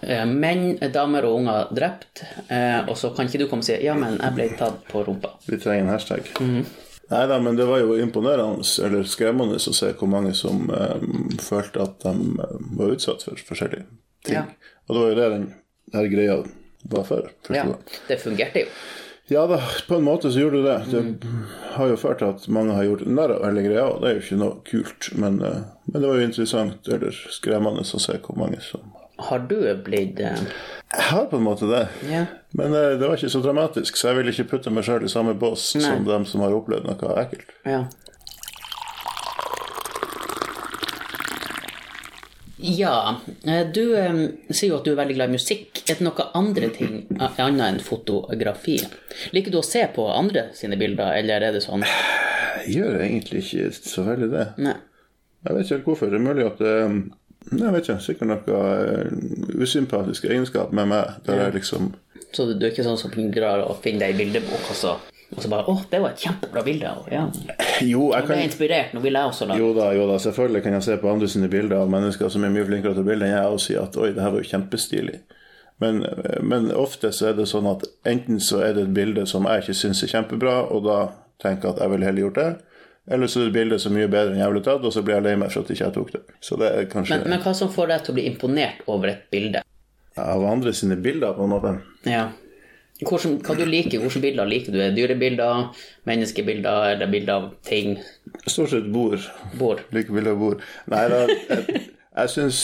eh, menn, damer og unger drept, eh, og så kan ikke du komme og si 'ja, men jeg ble tatt på rumpa'.
Vi trenger en hashtag.
Mhm.
Nei da, men det var jo imponerende, eller skremmende, å se hvor mange som eh, følte at de eh, var utsatt for forskjellige ting.
Ja.
Og det var jo det den her greia var for.
Ja,
Ja.
det fungerte jo.
ja da, på en måte så gjorde du det. Det
Mhm.
har jo ført til at mange har gjort narr av hele greia, og det er jo ikke noe kult. Men, eh, men det var jo interessant, eller skremmende, å se hvor mange som
Har du blitt eh,
Jeg har på en måte det.
Ja.
Men eh, det var ikke så dramatisk, så jeg vil ikke putte meg sjøl i samme bås som dem som har opplevd noe ekkelt.
Ja. Ja, eh, du eh, sier jo at du er veldig glad i musikk. Er det noe andre ting eh, annet enn fotografi? Liker du å se på andre sine bilder, eller er det sånn?
Jeg gjør egentlig ikke så veldig det.
Nei.
Jeg vet ikke helt hvorfor. Det er mulig at det Nei, jeg vet ikke. Sikkert noe eh, usympatisk egenskap med meg. Der jeg liksom
Så du er ikke sånn som drar og finner deg i bildebok, og så, og så bare 'Å, det var et kjempebra bilde'. Og, ja. Jeg
Jo, jeg
ble
kan
inspirert. Nå vil jeg også lage
jo da, jo da, selvfølgelig kan jeg se på andre sine bilder av mennesker som er mye flinkere til å bilde enn jeg, og si at oi, det her var jo kjempestilig. Men, eh, men ofte så er det sånn at enten så er det et bilde som jeg ikke syns er kjempebra, og da tenker jeg at jeg ville heller gjort det. Eller så er det et bilde som er mye bedre enn jeg ville tatt, og så blir jeg lei meg for at ikke jeg tok det. Så det er kanskje
Men hva som får deg til å bli imponert over et bilde?
av andre sine bilder, på en måte.
Ja. Hvordan, hva du liker, hvilke bilder liker du? Er det Dyrebilder, menneskebilder, er det bilder av ting?
Stort sett bord.
Bord.
Like bilde av bord. Nei da, jeg, jeg syns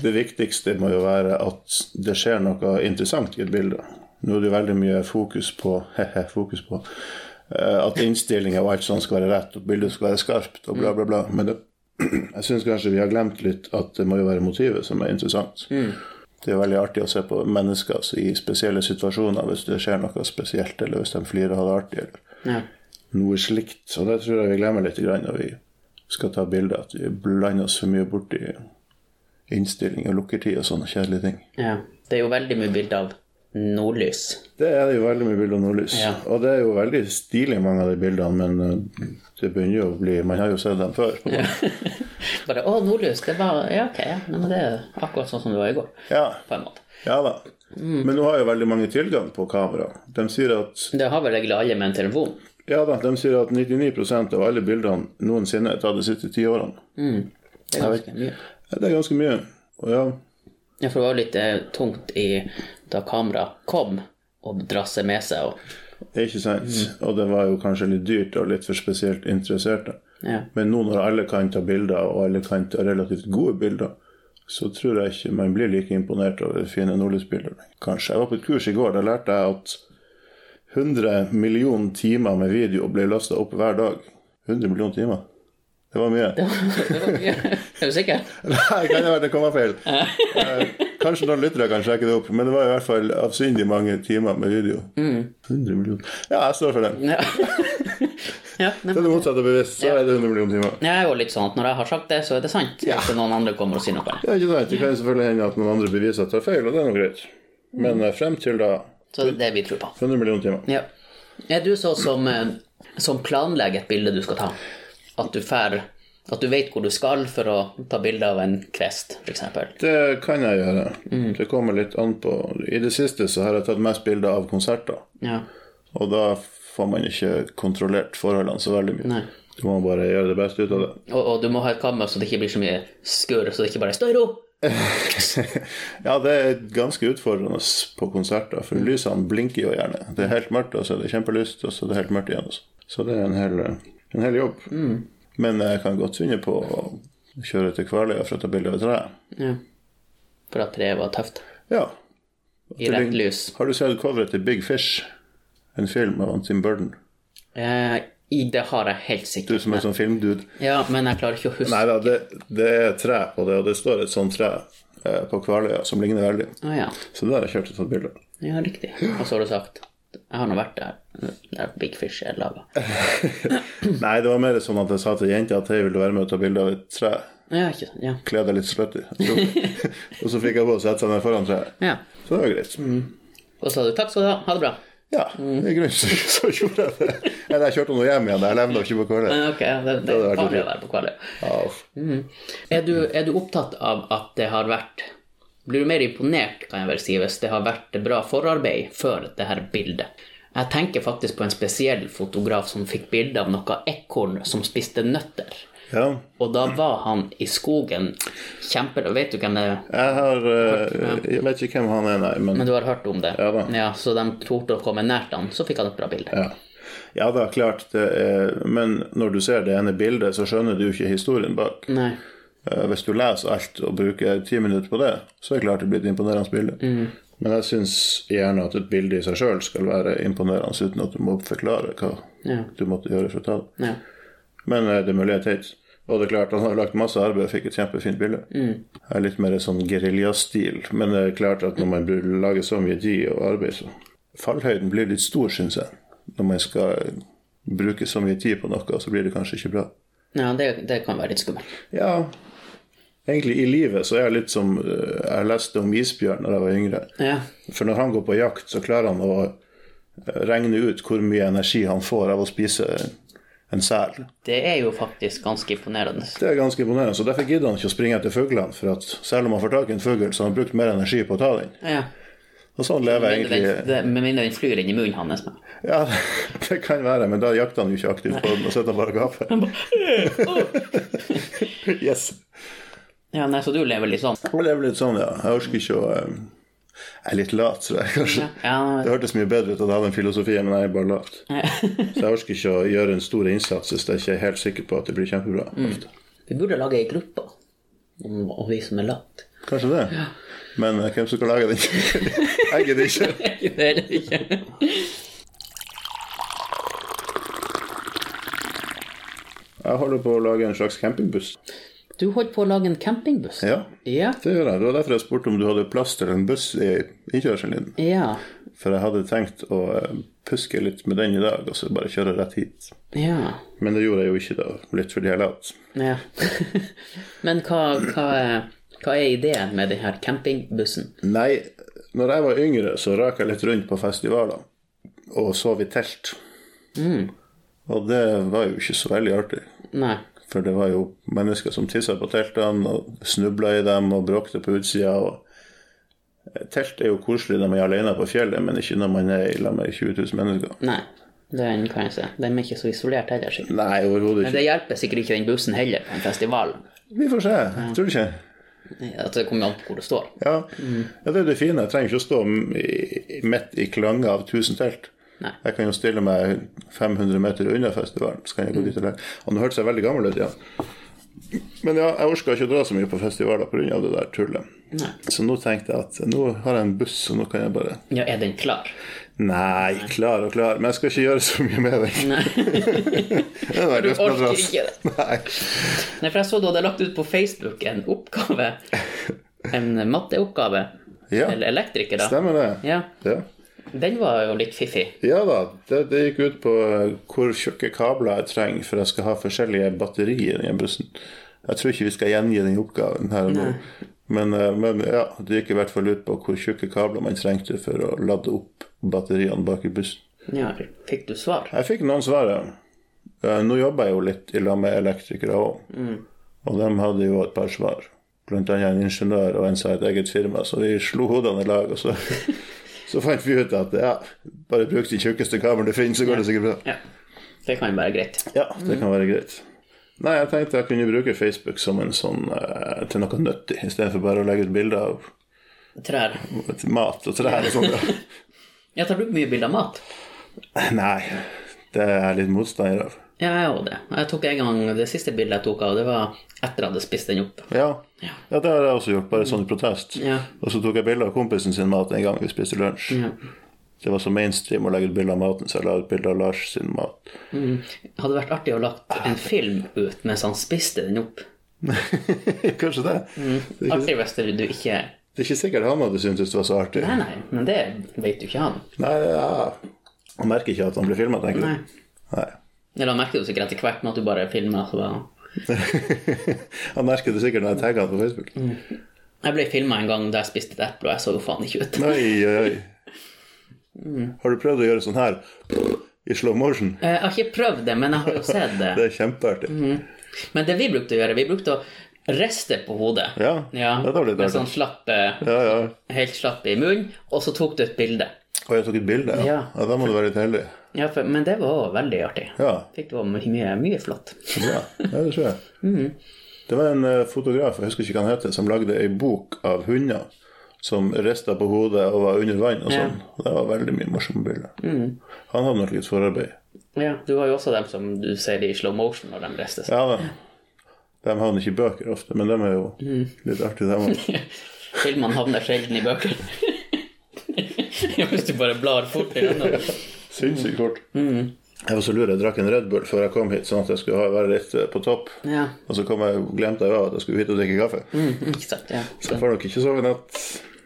det viktigste må jo være at det skjer noe interessant i et bilde. Nå er det jo veldig mye fokus på hehe, fokus på eh, at innstillinger og alt sånt skal være rett, og bildet skal være skarpt og bla, bla, bla. Men det, jeg syns kanskje vi har glemt litt at det må jo være motivet som er interessant. Det er veldig artig å se på mennesker i spesielle situasjoner hvis det skjer noe spesielt, eller hvis de flirer og har det artig. eller
Ja.
noe slikt. Og det tror jeg vi glemmer litt grann når vi skal ta bilder, at vi blander oss for mye bort i innstilling og lukkertid og sånne kjedelige ting.
ja. Det er jo veldig mye bilder av nordlys.
Det er det jo veldig mye bilder av nordlys.
Ja.
Og det er jo veldig stilig, mange av de bildene, men eh, det begynner jo å bli Man har jo sett dem før. på en måte.
Bare 'Å, nordlys', det var Ja, ok, ja. Nei, men det er akkurat sånn som det var i går.
Ja,
På en måte.
ja da.
Mm.
Men nå har jo veldig mange tilgang på kamera. De sier at
Det har vel egentlig alle med en telefon.
Ja da, de sier at 99 av alle bildene noensinne er tatt de siste ti årene.
Mm. Det er ganske mye.
Ja, Det er ganske mye. Og ja,
Ja, for det var jo litt eh, tungt i, da kameraet kom og drasse med seg og
Ikke sant. Og det var jo kanskje litt dyrt og litt for spesielt interesserte.
ja.
Men nå når alle kan ta bilder, og alle kan ta relativt gode bilder, så tror jeg ikke man blir like imponert over fine nordlysbilder. Kanskje. Jeg var på et kurs i går. Da lærte jeg at 100 millioner timer med video blir lasta opp hver dag. 100 millioner timer. Det var mye.
Det var mye. Er du sikker?
Nei, kan det være det kommer feil? Eh, Kanskje noen lyttere kan sjekke det opp, men det var i hvert fall avsindig mange timer med video. 100 millioner. Ja, jeg står for den.
Ja. ja, nei,
Det er
men-
det motsatte bevisst, så er det 100 millioner timer.
jeg er jo litt sånn at når jeg har sagt det, så er det sant. Hvis det er noen andre kommer og sier noe annet.
Ja, ikke sant? Det kan jo selvfølgelig hende at noen andre beviser tar feil, og det er nå greit. Men eh, frem til da
Så det er det vi tror på.
100 millioner timer.
Ja. Er du så som, eh, som planlegger et bilde du skal ta? At du fær, at du vet hvor du skal for å ta bilde av en kvest, f.eks.?
Det kan jeg gjøre. Det kommer litt an på I det siste så har jeg tatt mest bilder av konserter,
Ja.
og da får man ikke kontrollert forholdene så veldig mye.
Nei.
Du må bare gjøre det beste ut av det.
Og, og du må ha et kammer så det ikke blir så mye skurr, så det ikke bare er 'stå i ro'.
Ja, det er ganske utfordrende på konserter, for lysene blinker jo gjerne. Det er helt mørkt, og så er det kjempelyst, og så er det helt mørkt igjen. Også. Så det er en hel, en hel jobb.
Mm.
Men jeg kan godt finne på å kjøre til Kvaløya for å ta bilde av treet.
Ja. For at treet var tøft.
Ja.
I rett lys.
Har du sett coveret til Big Fish? En film av Tim Burden.
Eh, i det har jeg helt
Du
sikkert.
som er sånn filmdude.
Ja, men jeg klarer ikke å huske
Nei da, det, det er tre på det, og det står et sånt tre eh, på Kvaløya som ligner veldig.
Å ja.
Så det har jeg kjørt og tatt bilde av.
ja, riktig. Og så har du sagt Jeg har nå vært der der Big Fish er laga.
Nei, det var mer sånn at jeg sa til jenta at jeg ville være med og ta bilde av et tre.
Ja, ikke sant. Ja.
Kle deg litt slutty. og så fikk jeg på å sette seg ned foran treet.
ja.
Så det var greit. Mm.
Og så sa du 'takk skal du ha, ha det bra'.
Ja, i grunnen så, så gjorde jeg det. Eller jeg kjørte nå hjem igjen, jeg levde ikke på Kvaløya.
Eh, Ok, ja, det, det
hadde
er
vært
farlig
litt-
å være på Kvaløya.
Ja,
Er, du- er du opptatt av at det har vært Blir du mer imponert, kan jeg vel si, hvis det har vært bra forarbeid før det her bildet? Jeg tenker faktisk på en spesiell fotograf som fikk bilde av noe ekorn som spiste nøtter.
ja.
Og da var han i skogen kjempe... Vet du hvem det er?
Jeg har eh, Jeg vet ikke hvem han er, nei, men
Men du har hørt om det?
Ja da.
så de torde å komme nært han, så fikk han et bra bilde.
ja. ja da, klart. Det er, men når du ser det ene bildet, så skjønner du ikke historien bak.
Nei.
Eh, Hvis du leser alt og bruker ti minutter på det, så er det klart det blir et imponerende bilde.
Mm.
Men jeg syns gjerne at et bilde i seg sjøl skal være imponerende, uten at du må forklare hva
Ja.
du måtte gjøre for å ta det.
Ja.
Men eh, det er mulig jeg tar et. Og det er klart, han har lagt masse arbeid og fikk et kjempefint bilde.
Mm.
Det er litt mer sånn geriljastil. Men det er klart at når man br- lager så mye tid og arbeid, så Fallhøyden blir litt stor, syns jeg. Når man skal bruke så mye tid på noe, så blir det kanskje ikke bra.
ja det, det kan være litt skummelt.
Ja, egentlig i livet så er jeg litt som eh, Jeg leste om isbjørn da jeg var yngre.
Ja.
For når han går på jakt, så klarer han å eh, regne ut hvor mye energi han får av å spise en sel.
Det er jo faktisk ganske imponerende.
Det er ganske imponerende. Så derfor gidder han ikke å springe etter fuglene. For at selv om han får tak i en fugl, så har han brukt mer energi på å ta den.
Ja.
Og sånn lever jeg
Med mindre
egentlig
den- med mindre den flyr inn i munnen hans. men-
Ja, det kan være, men da jakter han jo ikke aktivt på den, og sitter bare og gaper. Yes.
Ja, nei, Så du lever litt sånn?
Jeg lever litt sånn, ja. Jeg orker ikke å eh, Jeg er litt lat, tror jeg kanskje.
Ja,
Det hørtes mye bedre ut at jeg hadde en filosofi, men jeg er bare lat. Så jeg orker ikke å gjøre en stor innsats hvis jeg ikke er helt sikker på at det blir kjempebra. ofte.
Vi burde lage ei gruppe om om vi som er late.
Kanskje det. Men eh, hvem som skal lage den? jeg gidder ikke.
Det er det ikke.
Jeg holder på å lage en slags campingbuss.
Du holdt på å lage en campingbuss?
Ja,
Ja.
det gjør jeg. Det var derfor jeg spurte om du hadde plass til en buss i innkjørselen din.
Ja.
For jeg hadde tenkt å eh, puske litt med den i dag, og så bare kjøre rett hit.
Ja.
Men det gjorde jeg jo ikke, da. Litt fordi jeg er lat.
ja. Men hva, hva, er- hva er ideen med denne campingbussen?
Nei, når jeg var yngre, så raka jeg litt rundt på festivaler og sov i telt. Og det var jo ikke så veldig artig.
Nei.
For det var jo mennesker som tissa på teltene og snubla i dem og bråkte på utsida. og Telt er jo koselig når man er alene på fjellet, men ikke når man er i lag med 20 000 mennesker.
Nei. Den kan jeg se. Den er ikke så isolert heller, sikkert.
Nei, overhodet
Men
ikke.
det hjelper sikkert ikke den bussen heller på en festival.
Vi får se. Tror du ikke?
At det kommer an på hvor det står.
Ja. ja, det er det fine. Jeg trenger ikke å stå m- i- midt i klange av 1000 telt.
Nei.
Jeg kan jo stille meg 500 meter unna festivalen, så kan jeg
Mm.
gå dit og legge Og nå hørtes jeg veldig gammel ut igjen. Men ja, jeg orka ikke å dra så mye på festivaler pga. det der tullet. Så nå tenkte jeg at nå har jeg en buss, så nå kan jeg bare
Ja, er den klar?
Nei, klar og klar. Men jeg skal ikke gjøre så mye med den.
Nei,
Den er
du
røft
orker
madrass.
ikke det.
Nei.
Nei, for jeg så du hadde lagt ut på Facebook en oppgave, en matteoppgave,
Ja,
til elektrikere.
stemmer det.
Ja,
Ja.
den var jo litt fiffig.
ja da, det, det gikk ut på eh, hvor tjukke kabler jeg trenger for jeg skal ha forskjellige batterier i den bussen. Jeg tror ikke vi skal gjengi den oppgaven her og nå. Men, eh, men ja, det gikk i hvert fall ut på hvor tjukke kabler man trengte for å lade opp batteriene bak i bussen.
Ja, fikk du svar?
Jeg fikk noen svar, ja. Eh, Nå jobber jeg jo litt i lag med elektrikere òg, og de hadde jo et par svar. Blant annet en ingeniør og en som har et eget firma, så vi slo hodene i lag. Og så, så fant vi ut at ja, bare bruk de tjukkeste kablene du finner, så går det sikkert bra.
Ja, det kan jo være greit.
Ja, det kan være greit. Nei, jeg tenkte jeg kunne bruke Facebook som en sånn, eh, til noe nyttig, istedenfor bare å legge ut bilder av
Trær.
mat og trær og sånt.
Jeg tar du mye bilder av mat?
Nei, det er jeg litt motstander av.
Ja, jeg òg det. Jeg tok en gang det siste bildet jeg tok av, det var etter jeg hadde spist den opp.
Ja. ja, det har jeg også gjort, bare sånn i protest.
Ja.
Og så tok jeg bilde av kompisen sin mat en gang vi spiste lunsj. Det var så mainstream å legge ut bilde av maten, så jeg la ut bilde av Lars sin mat.
Hadde vært artig å lagt en film ut mens han spiste den opp.
Kanskje det.
Mm.
Det, er ikke,
Artig hvis du ikke
det er ikke sikkert han hadde syntes det var så artig.
Nei, nei, men det vet jo ikke han.
Nei, ja. Han merker ikke at han blir filma, tenker
Nei.
du. Nei.
Eller han merker jo sikkert etter hvert med at du bare filmer. Så bare...
Han merker det sikkert når jeg tagger han på Facebook.
Mm. Jeg ble filma en gang da jeg spiste et eple, og jeg så jo faen ikke ut.
Oi, oi, oi.
Mm.
Har du prøvd å gjøre sånn her i slow motion?
Eh, Jeg har ikke prøvd det, men jeg har jo sett det.
Det er kjempeartig.
Mm. Men det vi brukte å gjøre, vi brukte å riste på hodet.
Ja,
Ja,
det var litt
med
artig.
sånn slapp, eh,
Ja, ja.
helt slapp i munnen, og så tok du et bilde.
Og jeg tok et bilde, ja.
Ja.
ja da må du være litt heldig.
Ja, for, men det var også veldig artig.
Ja,
Fikk du mye, mye, mye flott.
ja. ja det tror jeg. Det var en eh, fotograf, jeg husker ikke hva han heter, som lagde ei bok av hunder som rista på hodet og var under vann og sånn. Det var veldig mye morsomme bilder. Han hadde nok litt forarbeid.
Ja, du har jo også dem som du ser i slow motion når de rister.
Ja da. De havner ikke i bøker ofte, men de er jo litt artige, dem òg.
Filmene havner sjelden i bøkene. Ja, Hvis du bare blar fort igjennom.
Sinnssykt kort. Jeg var så lur, jeg drakk en Red Bull før jeg kom hit, sånn at jeg skulle ha- være litt eh, på topp.
Ja,
Og så kom jeg, glemte jeg jo at jeg skulle hit og drikke kaffe.
ikke sant. Ja.
Så jeg får nok ikke sove i natt.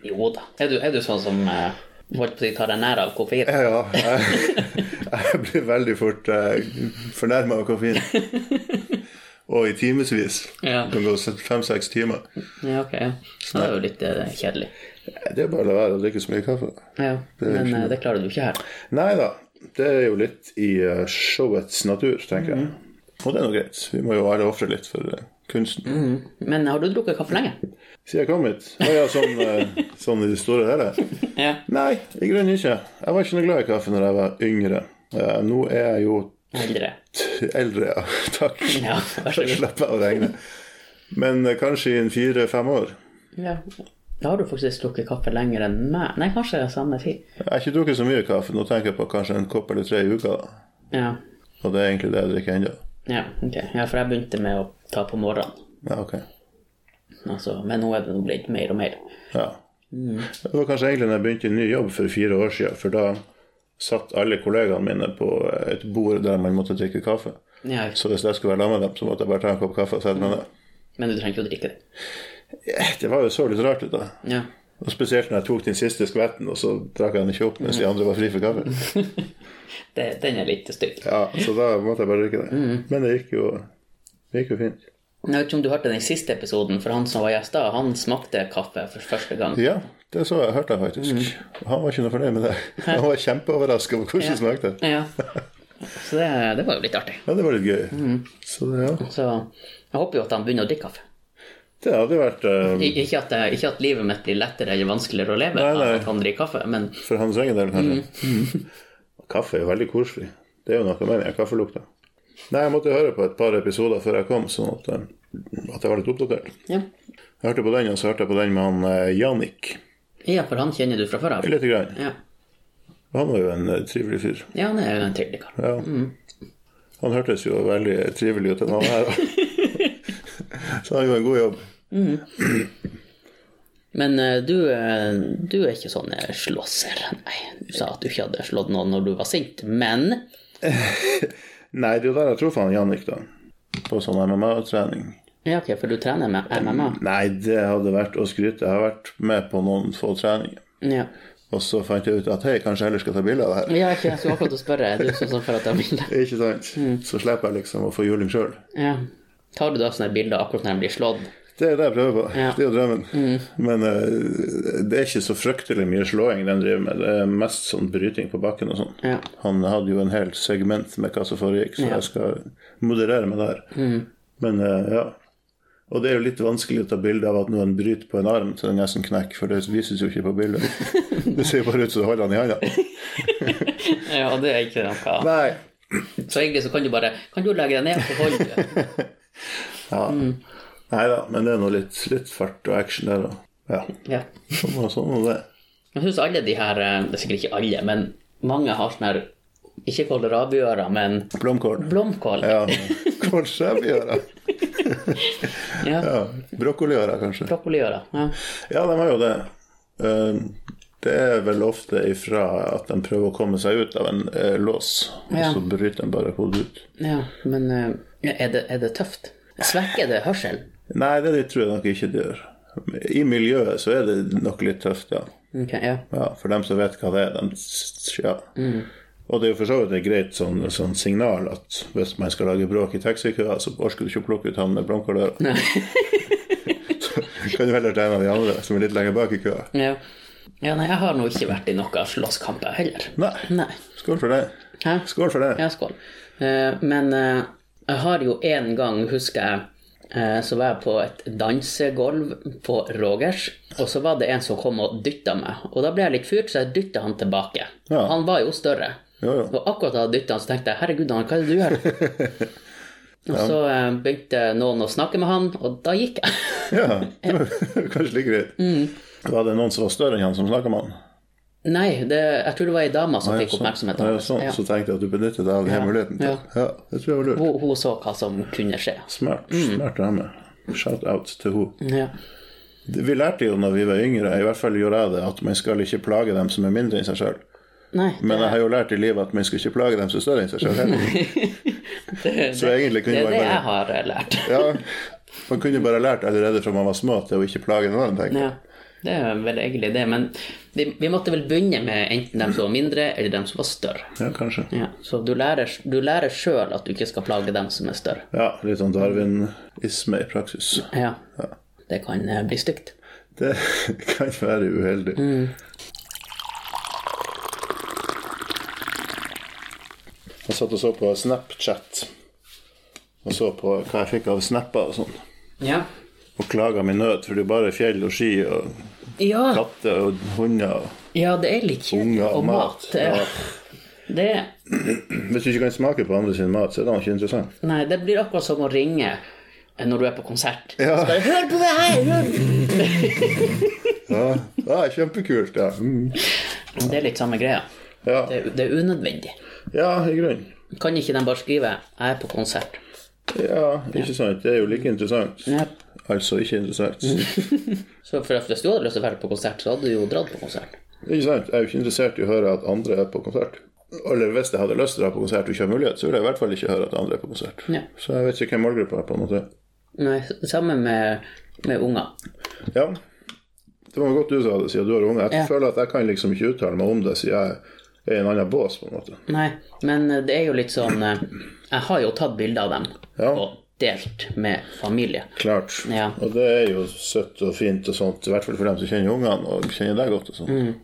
Jo da. Er du, er du sånn som eh, holdt på å si tar deg nær av koffein?
Ja, ja. Jeg, jeg blir veldig fort eh, fornærma av koffein. Og i timevis.
Ja.
Det kan gå fem-seks timer.
Ja, ok. Ja. Det er jo litt eh, kjedelig.
Det er bare å la være å drikke så mye kaffe.
Ja, men eh, det klarer du ikke her.
Nei da. Det er jo litt i eh, showets natur, tenker jeg. Og det er nå greit. Vi må jo alle ofre litt for eh, kunsten.
Men eh, har du drukket kaffe lenge?
Siden jeg kom hit. Å ja, sånn, eh, sånn i det store og hele.
Ja.
Nei, i grunnen ikke. Jeg var ikke noe glad i kaffe når jeg var yngre. Eh, Nå er jeg jo
Eldre.
t- eldre, ja. Takk.
Ja, vær så
Så
god.
slipper jeg å regne. Men eh, kanskje i en fire-fem år.
Ja. Da har du faktisk drukket kaffe lenger enn meg. Nei, kanskje det er samme tid.
Jeg har ikke drukket så mye kaffe. Nå tenker jeg på kanskje en kopp eller tre i uka. da.
Ja.
Og det er egentlig det jeg drikker ennå.
Ja, ok. Ja, for jeg begynte med å ta på morgenen.
Ja, ok.
Altså, men nå er det nå blitt mer og mer.
Ja. Det var kanskje egentlig da jeg begynte i ny jobb for fire år siden. For da satt alle kollegaene mine på et bord der man måtte drikke kaffe.
Ja,
Så hvis jeg skulle være sammen med dem, så måtte jeg bare ta en kopp kaffe og sette meg ned.
men du trenger ikke å drikke det.
Eh, Det var jo så litt rart ut, da.
Ja.
Og spesielt når jeg tok den siste skvetten, og så drakk jeg den ikke opp mens de andre var fri for kaffe.
Det, den er litt stygg.
Ja, så da måtte jeg bare drikke det. Men det gikk jo, det gikk jo fint.
Jeg vet ikke om du hørte den siste episoden, for han som var gjest da, han smakte kaffe for første gang.
Ja, det så jeg, hørte jeg faktisk. Han var ikke noe fornøyd med det. Han var kjempeoverraska over hvordan det smakte.
Ja. Så det, det var jo litt artig.
Ja, det var litt gøy. Så det, ja.
Så jeg håper jo at han begynner å drikke kaffe.
Det hadde vært eh,
I- Ikke at, jeg- ikke at livet mitt blir lettere eller vanskeligere å leve
Nei,
av
nei.
at han drikker kaffe, men
for hans egen del, kanskje. Kaffe er jo veldig koselig. Det er jo noe med den kaffelukta. Nei, jeg måtte høre på et par episoder før jeg kom, sånn at, eh, at jeg var litt oppdatert.
ja.
Jeg hørte på den, og så hørte jeg på den med han eh, Jannik.
ja, for han kjenner du fra før av.
Lite grann.
Ja.
Han var jo en eh, trivelig fyr.
ja, han er jo en trivelig kar.
Ja. Han hørtes jo veldig trivelig ut, han her. Så han gjorde en god jobb.
Men eh, du, eh, du er ikke sånn eh, slåsser. Nei, du sa at du ikke hadde slått noen når du var sint, men
Nei, det er jo der jeg tror faen Jannik, da. På sånn MMA-trening.
Ja, ok, for du trener med MMA?
Nei, det hadde vært å skryte. Jeg har vært med på noen få treninger.
Ja.
Og så fant jeg ut at hei, kanskje jeg heller skal ta bilde av det her.
Ja, ikke, jeg skulle akkurat å spørre. Du er sånn som for at jeg vil det.
Ikke sant? Så slipper jeg liksom å få juling sjøl.
Ja. Tar du da sånne bilder akkurat når de blir slått?
Det er det jeg prøver på. Det er jo drømmen. Men eh, det er ikke så fryktelig mye slåing de driver med. Det er mest sånn bryting på bakken og sånn.
Ja.
Han hadde jo en hel segment med hva som foregikk, så jeg skal moderere meg der. Men eh, ja. Og det er jo litt vanskelig å ta bilde av at noen bryter på en arm til den nesten knekker, for det vises jo ikke på bildet. Det ser jo bare ut som du holder han i handa.
Ja, det er ikke noe
Nei.
Så egentlig så kan du bare Kan du legge deg ned, så holder du.
Ja. Neida, men det er nå litt, litt fart og action der òg. Ja.
Ja.
Sånn var sånn var det.
Jeg syns alle de her eh, Det er sikkert ikke alle, men mange har sånne her Ikke kålrabiører, men
Blomkål.
blomkål.
Ja, kålskjevgjøra.
Ja.
Ja, Brokkoliøra, kanskje.
Brokkoliører. Ja.
Ja, de har jo det. Eh, Det er vel ofte ifra at de prøver å komme seg ut av en eh, lås, og
Ja.
så bryter de bare hodet ut.
ja, men eh, er det, er det tøft? Svekker det hørselen?
Nei, det tror jeg nok ikke de gjør. I miljøet så er det nok litt tøft, ja.
Ok, ja.
ja for dem som vet hva det er, dem ja.
Mm.
Og det er jo for så vidt et greit sånn, sånn signal at hvis man skal lage bråk i taxikøer, så orker du ikke å plukke ut han med blomkåløra. kan du heller ta en av de andre som er litt lenger bak i køa.
ja. Ja, nei, jeg har nå ikke vært i noen slåsskamper heller.
Nei.
Nei.
Skål for det.
Hæ?
Skål for det.
Ja, skål. Eh, Men eh, jeg har jo en gang, husker jeg, eh, så var jeg på et dansegolv på Rogers, og så var det en som kom og dytta meg. Og da ble jeg litt fyrt, så jeg dytta han tilbake.
Ja.
Han var jo større.
Jo, jo.
Og akkurat da jeg dytta han, så tenkte jeg 'herregud, han, hva er det du gjør?' Og så eh, begynte noen å snakke med han, og da gikk jeg.
Ja, det var kanskje like greit.
Mm.
Var det noen som var større enn han som snakka med han?
Nei, det, jeg tror det var ei dame som fikk
Sånn.
oppmerksomhet.
Ja, sånn.
Ja.
Så tenkte jeg at du benyttet deg av denne muligheten. til.
Ja.
Ja, det tror jeg var lurt.
Hun, hun så hva som kunne skje.
Smart. Smart dame. Shout-out til henne.
Ja.
Vi lærte jo når vi var yngre, i hvert fall gjorde jeg det, at man skal ikke plage dem som er mindre enn seg sjøl.
Nei,
Men jeg har jo lært i livet at man skal ikke plage dem som er større enn seg sjøl.
det,
Så egentlig
det
kunne
er
man
det jeg
bare
har eh, lært.
ja, Man kunne bare lært allerede fra man var små til å ikke plage noen, tenker jeg.
Ja, det er vel egentlig det, men vi, vi måtte vel begynne med enten dem som var mindre, eller dem som var større.
Ja, kanskje.
Ja, så du lærer, du lærer sjøl at du ikke skal plage dem som er større.
Ja, litt sånn Darwin-isme i praksis.
Ja. Det kan eh, bli stygt.
Det kan være uheldig. Jeg satt og så på Snapchat og så på hva jeg fikk av snapper og sånn.
Ja.
Og klaga min nød, for det er bare fjell og ski og
Ja,
katter og hunder og
det er litt kjedelig.
unger og
Og mat.
mat. Ja.
Det,
Hvis du ikke kan smake på andre sin mat, så er det ikke interessant.
nei, det blir akkurat som å ringe eh, når du er på konsert. Så bare, Hør på det her! Hør!
Ja, ja kjempekult, ja. Mm.
Det er litt samme greia.
Ja.
Det, er- det er unødvendig.
ja, i grunnen.
Kan ikke de bare skrive 'jeg er på konsert'?
Ja, ikke sant. Det er jo like interessant.
Ja.
Altså ikke interessant.
Så for at Hvis du hadde lyst til å være på konsert, så hadde du jo dratt på konsert.
Ikke sant? Jeg er jo ikke interessert i å høre at andre er på konsert. Eller hvis jeg hadde lyst til å dra på konsert og ikke har mulighet, så ville jeg i hvert fall ikke høre at andre er på konsert.
Ja.
Så jeg vet ikke hvem målgruppa er på en måte.
Nei, sammen med, med unger.
Ja, det var godt du sa det, siden du har unge. Jeg
Ja.
føler at jeg kan liksom ikke uttale meg om det, siden jeg er i en annen bås, på en måte.
Nei, men det er jo litt sånn eh, Jeg har jo tatt bilder av dem
Ja.
og delt med familie.
Klart.
Ja.
Og det er jo søtt og fint og sånt, i hvert fall for dem som kjenner ungene og kjenner deg godt og sånn.
Mm.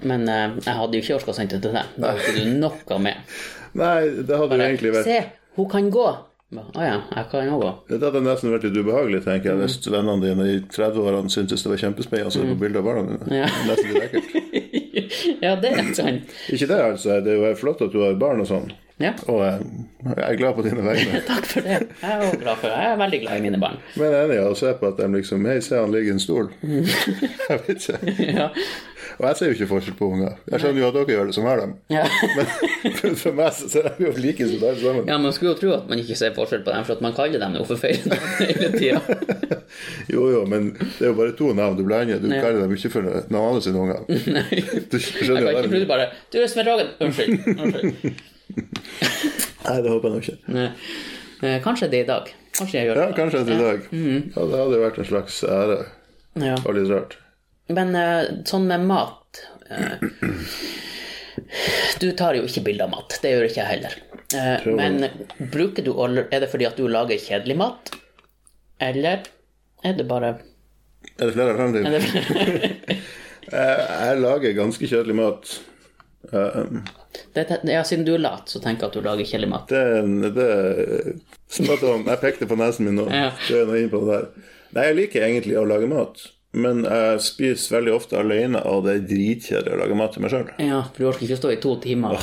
Men eh, jeg hadde jo ikke orka å sende det til deg. Da hadde ikke du noe med.
Nei, det hadde jo egentlig vært
Se, hun kan gå! Å ja, jeg kan òg gå.
Det hadde nesten vært litt ubehagelig, tenker jeg,
Mm.
hvis vennene dine i 30-årene syntes det var kjempespennende å se på bilder av barna dine.
Ja.
Nesten litt ekkelt.
Ja, det er sant.
Ikke det, altså. Det er jo flott at du har barn og sånn.
Ja,
Og eh, jeg er glad på dine vegne.
takk for det. Jeg er, også glad for, jeg er veldig glad i mine barn.
Men jeg er enig i å se på at de liksom Hei, se, han ligger i en stol. jeg vet ikke.
Ja.
Og jeg ser jo ikke forskjell på unger. Jeg skjønner jo at dere gjør det som har dem.
Ja.
Men for- for meg så ser jeg jo like som alle sammen.
Ja, Man skulle jo tro at man ikke ser forskjell på dem, for at man kaller dem jo for feil navn hele tida.
Jo jo, men det er jo bare to navn du blander. Du kaller dem ikke for noen andre sine unger. Du skjønner
Jeg
jo
kan ikke
det.
plutselig bare Du, Espen Rogen! Unnskyld. unnskyld.
Nei, det håper jeg nå ikke.
Nei. Eh, Kanskje det er i dag. Kanskje jeg gjør
Ja,
det.
kanskje etter i dag. Ja, det hadde jo vært en slags ære.
Ja.
Og litt rart.
Men eh, sånn med mat eh, Du tar jo ikke bilde av mat. Det gjør ikke jeg heller. Eh,
Prøver.
men bruker du all- Er det fordi at du lager kjedelig mat, eller er det bare
Er det flere frem til?
er det,
Jeg, Eh, jeg lager ganske kjedelig mat. Um,
det, Ja, siden du er lat, så tenker jeg at du lager kjedelig mat.
Det er en det er, spot on. Jeg pekte på nesen min nå.
Ja.
Du er nå inne på det der. Nei, jeg liker egentlig å lage mat, men jeg spiser veldig ofte alene, og det er dritkjedelig å lage mat til meg sjøl.
Ja, for du orker ikke stå i to timer.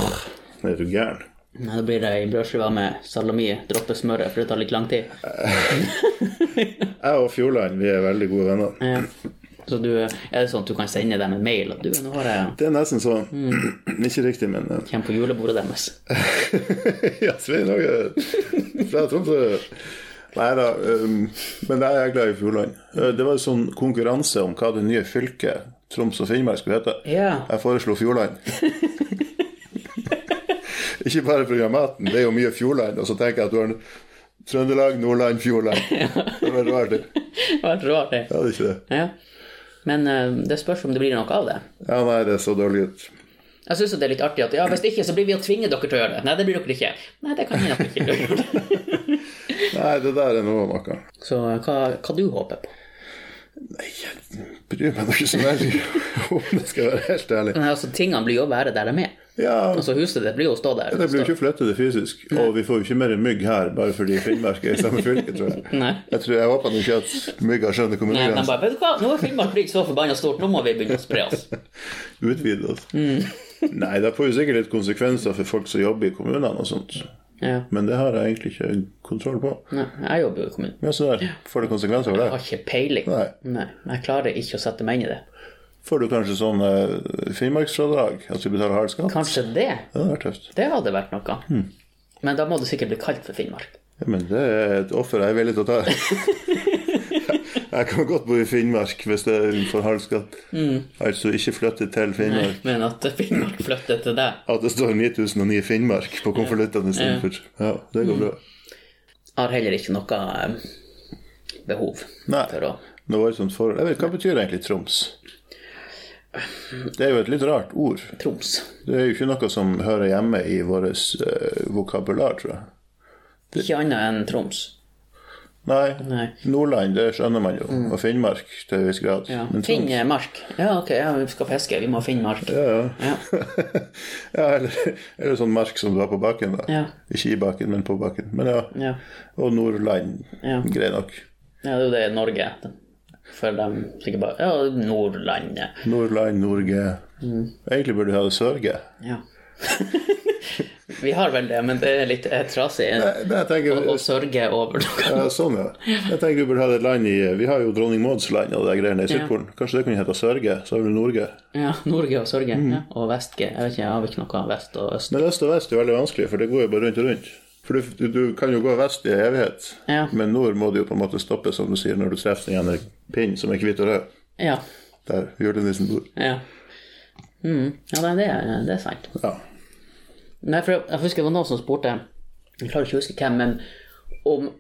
Er du gæren?
Nei, Da blir det ei brødskive med salami, droppe smøret, for det tar litt lang tid.
Jeg og Fjordland vi er veldig gode venner.
Ja. Eh, Så du, er det sånn at du kan sende dem en mail at du nå har jeg
Det er nesten sånn
Mm.
Ikke riktig, men eh,
kommer på julebordet deres?
Ja, Svein Åge fra Tromsø. Nei da, um, men jeg er glad i Fjordland. Eh, Det var en sånn konkurranse om hva det nye fylket Troms og Finnmark skulle hete.
Ja.
Jeg foreslo Fjordland. Ikke bare pga. maten, det er jo mye Fjordland. Og så tenker jeg at du har en Trøndelag, Nordland, Fjordland. Det var rart. Jeg
Det var rart, det.
hadde ikke det.
Ja. Men eh, det spørs om det blir noe av det.
Ja, nei, det så dårlig ut.
Jeg syns det er litt artig at ja, hvis ikke, så blir vi å tvinge dere til å gjøre det. Nei, det blir dere ikke. Nei, det kan hende at dere ikke gjør.
Nei, det der er noe av noe.
Så eh, hva, hva du håper på?
Bryr meg nå ikke så veldig om det skal være helt ærlig.
Nei, altså, tingene blir jo å være der de er.
Ja,
Altså, huset ditt blir jo å stå der.
Det blir jo ikke flyttet det fysisk, og vi får jo ikke mer mygg her bare fordi Finnmark er i samme fylke, tror jeg.
Nei.
Jeg tror jeg håper nå ikke at mygga
Nei,
skjønner
de
kommunegrensen.
bare, vet du hva, nå er Finnmark bygd så forbanna stort, nå må vi begynne å spre oss.
Utvide oss.
Mm.
Nei, det får jo sikkert litt konsekvenser for folk som jobber i kommunene og sånt,
Ja.
men det har jeg egentlig ikke kontroll på.
Nei, jeg jobber jo i kommunen.
Ja, så der. Får det konsekvenser
Jeg
for deg?
har ikke peiling.
Nei.
Nei, jeg klarer ikke å sette meg inn i det.
Får du kanskje sånn eh, Finnmarksfradrag, at du betaler hard skatt?
Kanskje det.
Det hadde vært tøft.
Det hadde vært noe.
Hmm.
Men da må du sikkert bli kalt for Finnmark.
Ja, men det er et offer jeg er villig til å ta. Jeg kan godt bo i Finnmark hvis det er for hard skatt.
Mm.
Altså ikke flytte til Finnmark.
Men at Finnmark flytter til deg
At det står 9009 Finnmark på konvoluttene istedenfor. Ja, det går
Mm.
bra.
har heller ikke noe eh, behov
Nei.
for å
Noe voldsomt forhold. Jeg vet, hva betyr egentlig Troms? Det er jo et litt rart ord.
Troms.
Det er jo ikke noe som hører hjemme i vårt vokabular, tror jeg.
Ikke annet enn Troms.
Nei.
Nei. Mm.
Nordland, det skjønner man jo. Og Finnmark til en viss grad.
Ja.
Men Troms
Finn eh, mark. Ja, ok, ja, vi skal fiske, vi må finne mark. Ja.
ja, eller, eller sånn mark som du har på bakken, da.
Ja.
Ikke i bakken, men på bakken. Men ja.
Ja.
Og Nordland,
Ja.
grei nok.
ja, det er jo det Norge heter. For de sikkert bare Ja, Nordlandet.
Nordland, Norge.
Mm.
Egentlig burde du ha det Sørge.
Ja. vi har vel det, men det er litt eh, trasig
Nei, det jeg tenker,
å sørge over noe.
Ja, sånn, ja. Jeg tenker vi burde ha et land i Vi har jo dronning Mauds land og de greiene i Sydpolen. Kanskje det kunne hete Sørge? Så har vi Norge.
Ja, Norge og Sørge. Ja. Og Vestge. Jeg vet ikke, jeg har ikke noe vest og øst.
Men øst og vest er jo veldig vanskelig, for det går jo bare rundt og rundt. For du, du, du kan jo gå vest i evighet,
Ja.
men nord må du jo på en måte stoppe, som du sier, når du treffer den ene pinnen som er hvit og rød,
Ja.
der julenissen bor.
Ja, mm. ja nei, det, er, det er sant.
Ja.
Nei, for jeg, jeg husker det var noen som spurte, jeg klarer ikke å huske hvem, men om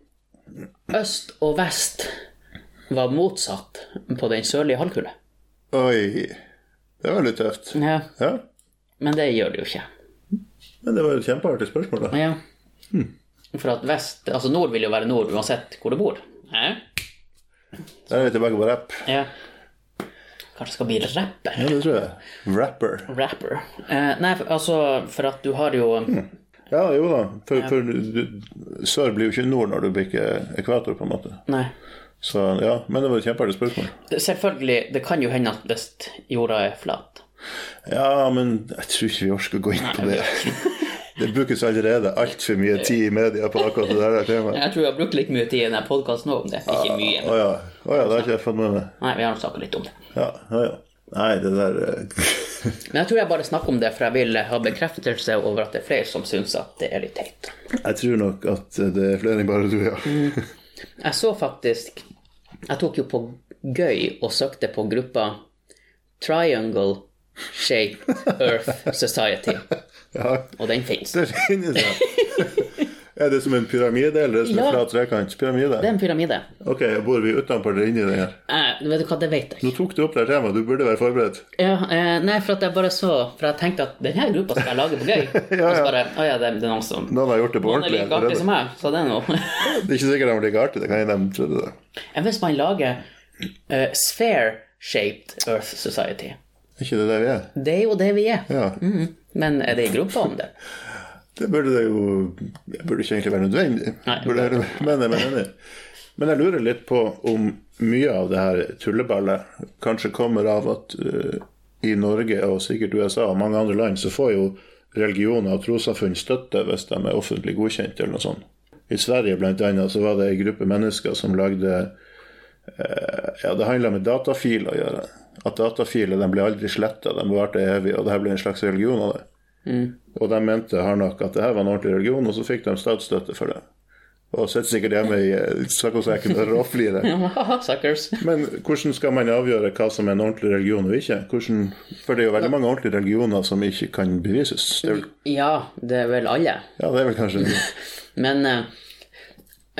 øst og vest var motsatt på den sørlige halvkule.
Oi. Det var litt tøft.
Ja,
Ja.
men det gjør det jo ikke.
Men det var jo et kjempeartig spørsmål, da.
Ja. Hmm. For at vest, altså nord vil jo være nord uansett hvor du bor. Ja.
Der er vi tilbake på rapp.
ja. Kanskje skal bli rapper.
Ja, det tror jeg. Rapper.
Rapper. Eh, nei, for, altså, for at du har jo
Ja, jo da. For, for du, sør blir jo ikke nord når du bikker ekvator, på en måte.
Nei.
Så ja, men det var et kjempeartig spørsmål.
Selvfølgelig, det kan jo hende at hvis jorda er flat
Ja, men jeg tror ikke vi orker å gå inn på det. Det brukes allerede altfor mye tid i media på akkurat det der temaet.
Jeg tror jeg har brukt litt mye tid i denne podkasten nå om det. Ikke mye.
Å ja. Å ja, det har ikke jeg fått med meg.
Nei, vi har snakka litt om det.
Ja, ja, ja. Nei, det der eh,
Men jeg tror jeg bare snakker om det, for jeg vil ha bekreftelse over at det er flere som syns at det er litt teit.
Jeg tror nok at det er flere enn bare du, ja.
Jeg så faktisk Jeg tok jo på gøy og søkte på gruppa Triangle Shaped Earth Society,
ja.
og den fins.
Det finnes det. Er det som en pyramide, eller er det som
Ja.
en flat trekant? Pyramide?
Det er en pyramide.
Ok, bor vi utenfor eller inni den her?
Eh, vet du hva, det vet jeg ikke.
Nå tok du opp det her temaet, du burde være forberedt.
Ja, eh, nei, for at jeg bare så For jeg tenkte at denne gruppa skal jeg lage på gøy.
Ja,
Og
ja.
så bare Å ja, det, det er noen som
Noen har gjort det på
Noen er
ordentlig.
like artig
allerede.
som meg, så det er noe.
Det er ikke sikkert de var like artig, det kan hende de trodde det.
Enn hvis man lager eh, Sphere Shaped Earth Society?
Er ikke det der vi er?
Det er jo det vi er.
Ja.
Mhm. Men er det en gruppe om det?
Det burde det jo Det burde ikke egentlig være nødvendig.
Nei.
Burde være, men, jeg mener det. men jeg lurer litt på om mye av det her tulleballet kanskje kommer av at eh, i Norge og sikkert USA og mange andre land så får jo religioner og trossamfunn støtte hvis de er offentlig godkjent eller noe sånt. I Sverige blant annet så var det ei gruppe mennesker som lagde eh, Ja, det handla med datafiler å gjøre. At datafiler de ble aldri sletta, de bevarte evig, og det her ble en slags religion av det. Og de mente hardnakk at det her var en ordentlig religion, og så fikk de statsstøtte for det. Og sitter sikkert hjemme i eh, saccosekken og råflirer.
Haha, Suckers.
Men hvordan skal man avgjøre hva som er en ordentlig religion og ikke? Hvordan, for det er jo veldig mange ordentlige religioner som ikke kan bevises. Det er vel,
Ja, det er vel alle.
ja, det er vel kanskje
Men eh,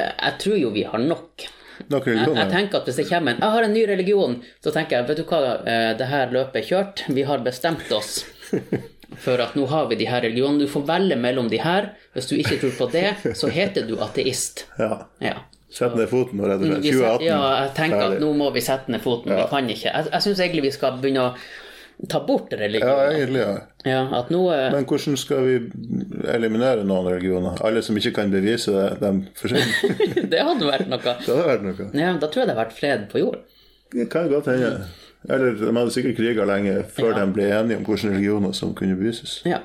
jeg tror jo vi har nok.
noen
Jeg
religioner.
tenker at Hvis det kommer en 'jeg har en ny religion', så tenker jeg 'vet du hva, eh, det her løpet er kjørt'. Vi har bestemt oss for at nå har vi de her religionene. Du får velge mellom de her. Hvis du ikke tror på det, så heter du ateist.
Ja.
Ja.
Sett ned foten og redd deg.
Vi set,
2018.
ja, jeg tenker at
Ferdig.
nå må vi sette ned foten. Vi kan ikke. Jeg, jeg syns egentlig vi skal begynne å ta bort
Ja,
religion.
egentlig, ja.
Ja, at nå eh,
Men hvordan skal vi eliminere noen religioner? Alle som ikke kan bevise det, de forsvinner.
Det hadde vært noe.
Det hadde vært noe.
Ja, da tror jeg det hadde vært fred på jord.
Det kan godt hende. Eller de hadde sikkert kriga lenge før de ble enige om hvilke religioner som kunne bevises.
Ja.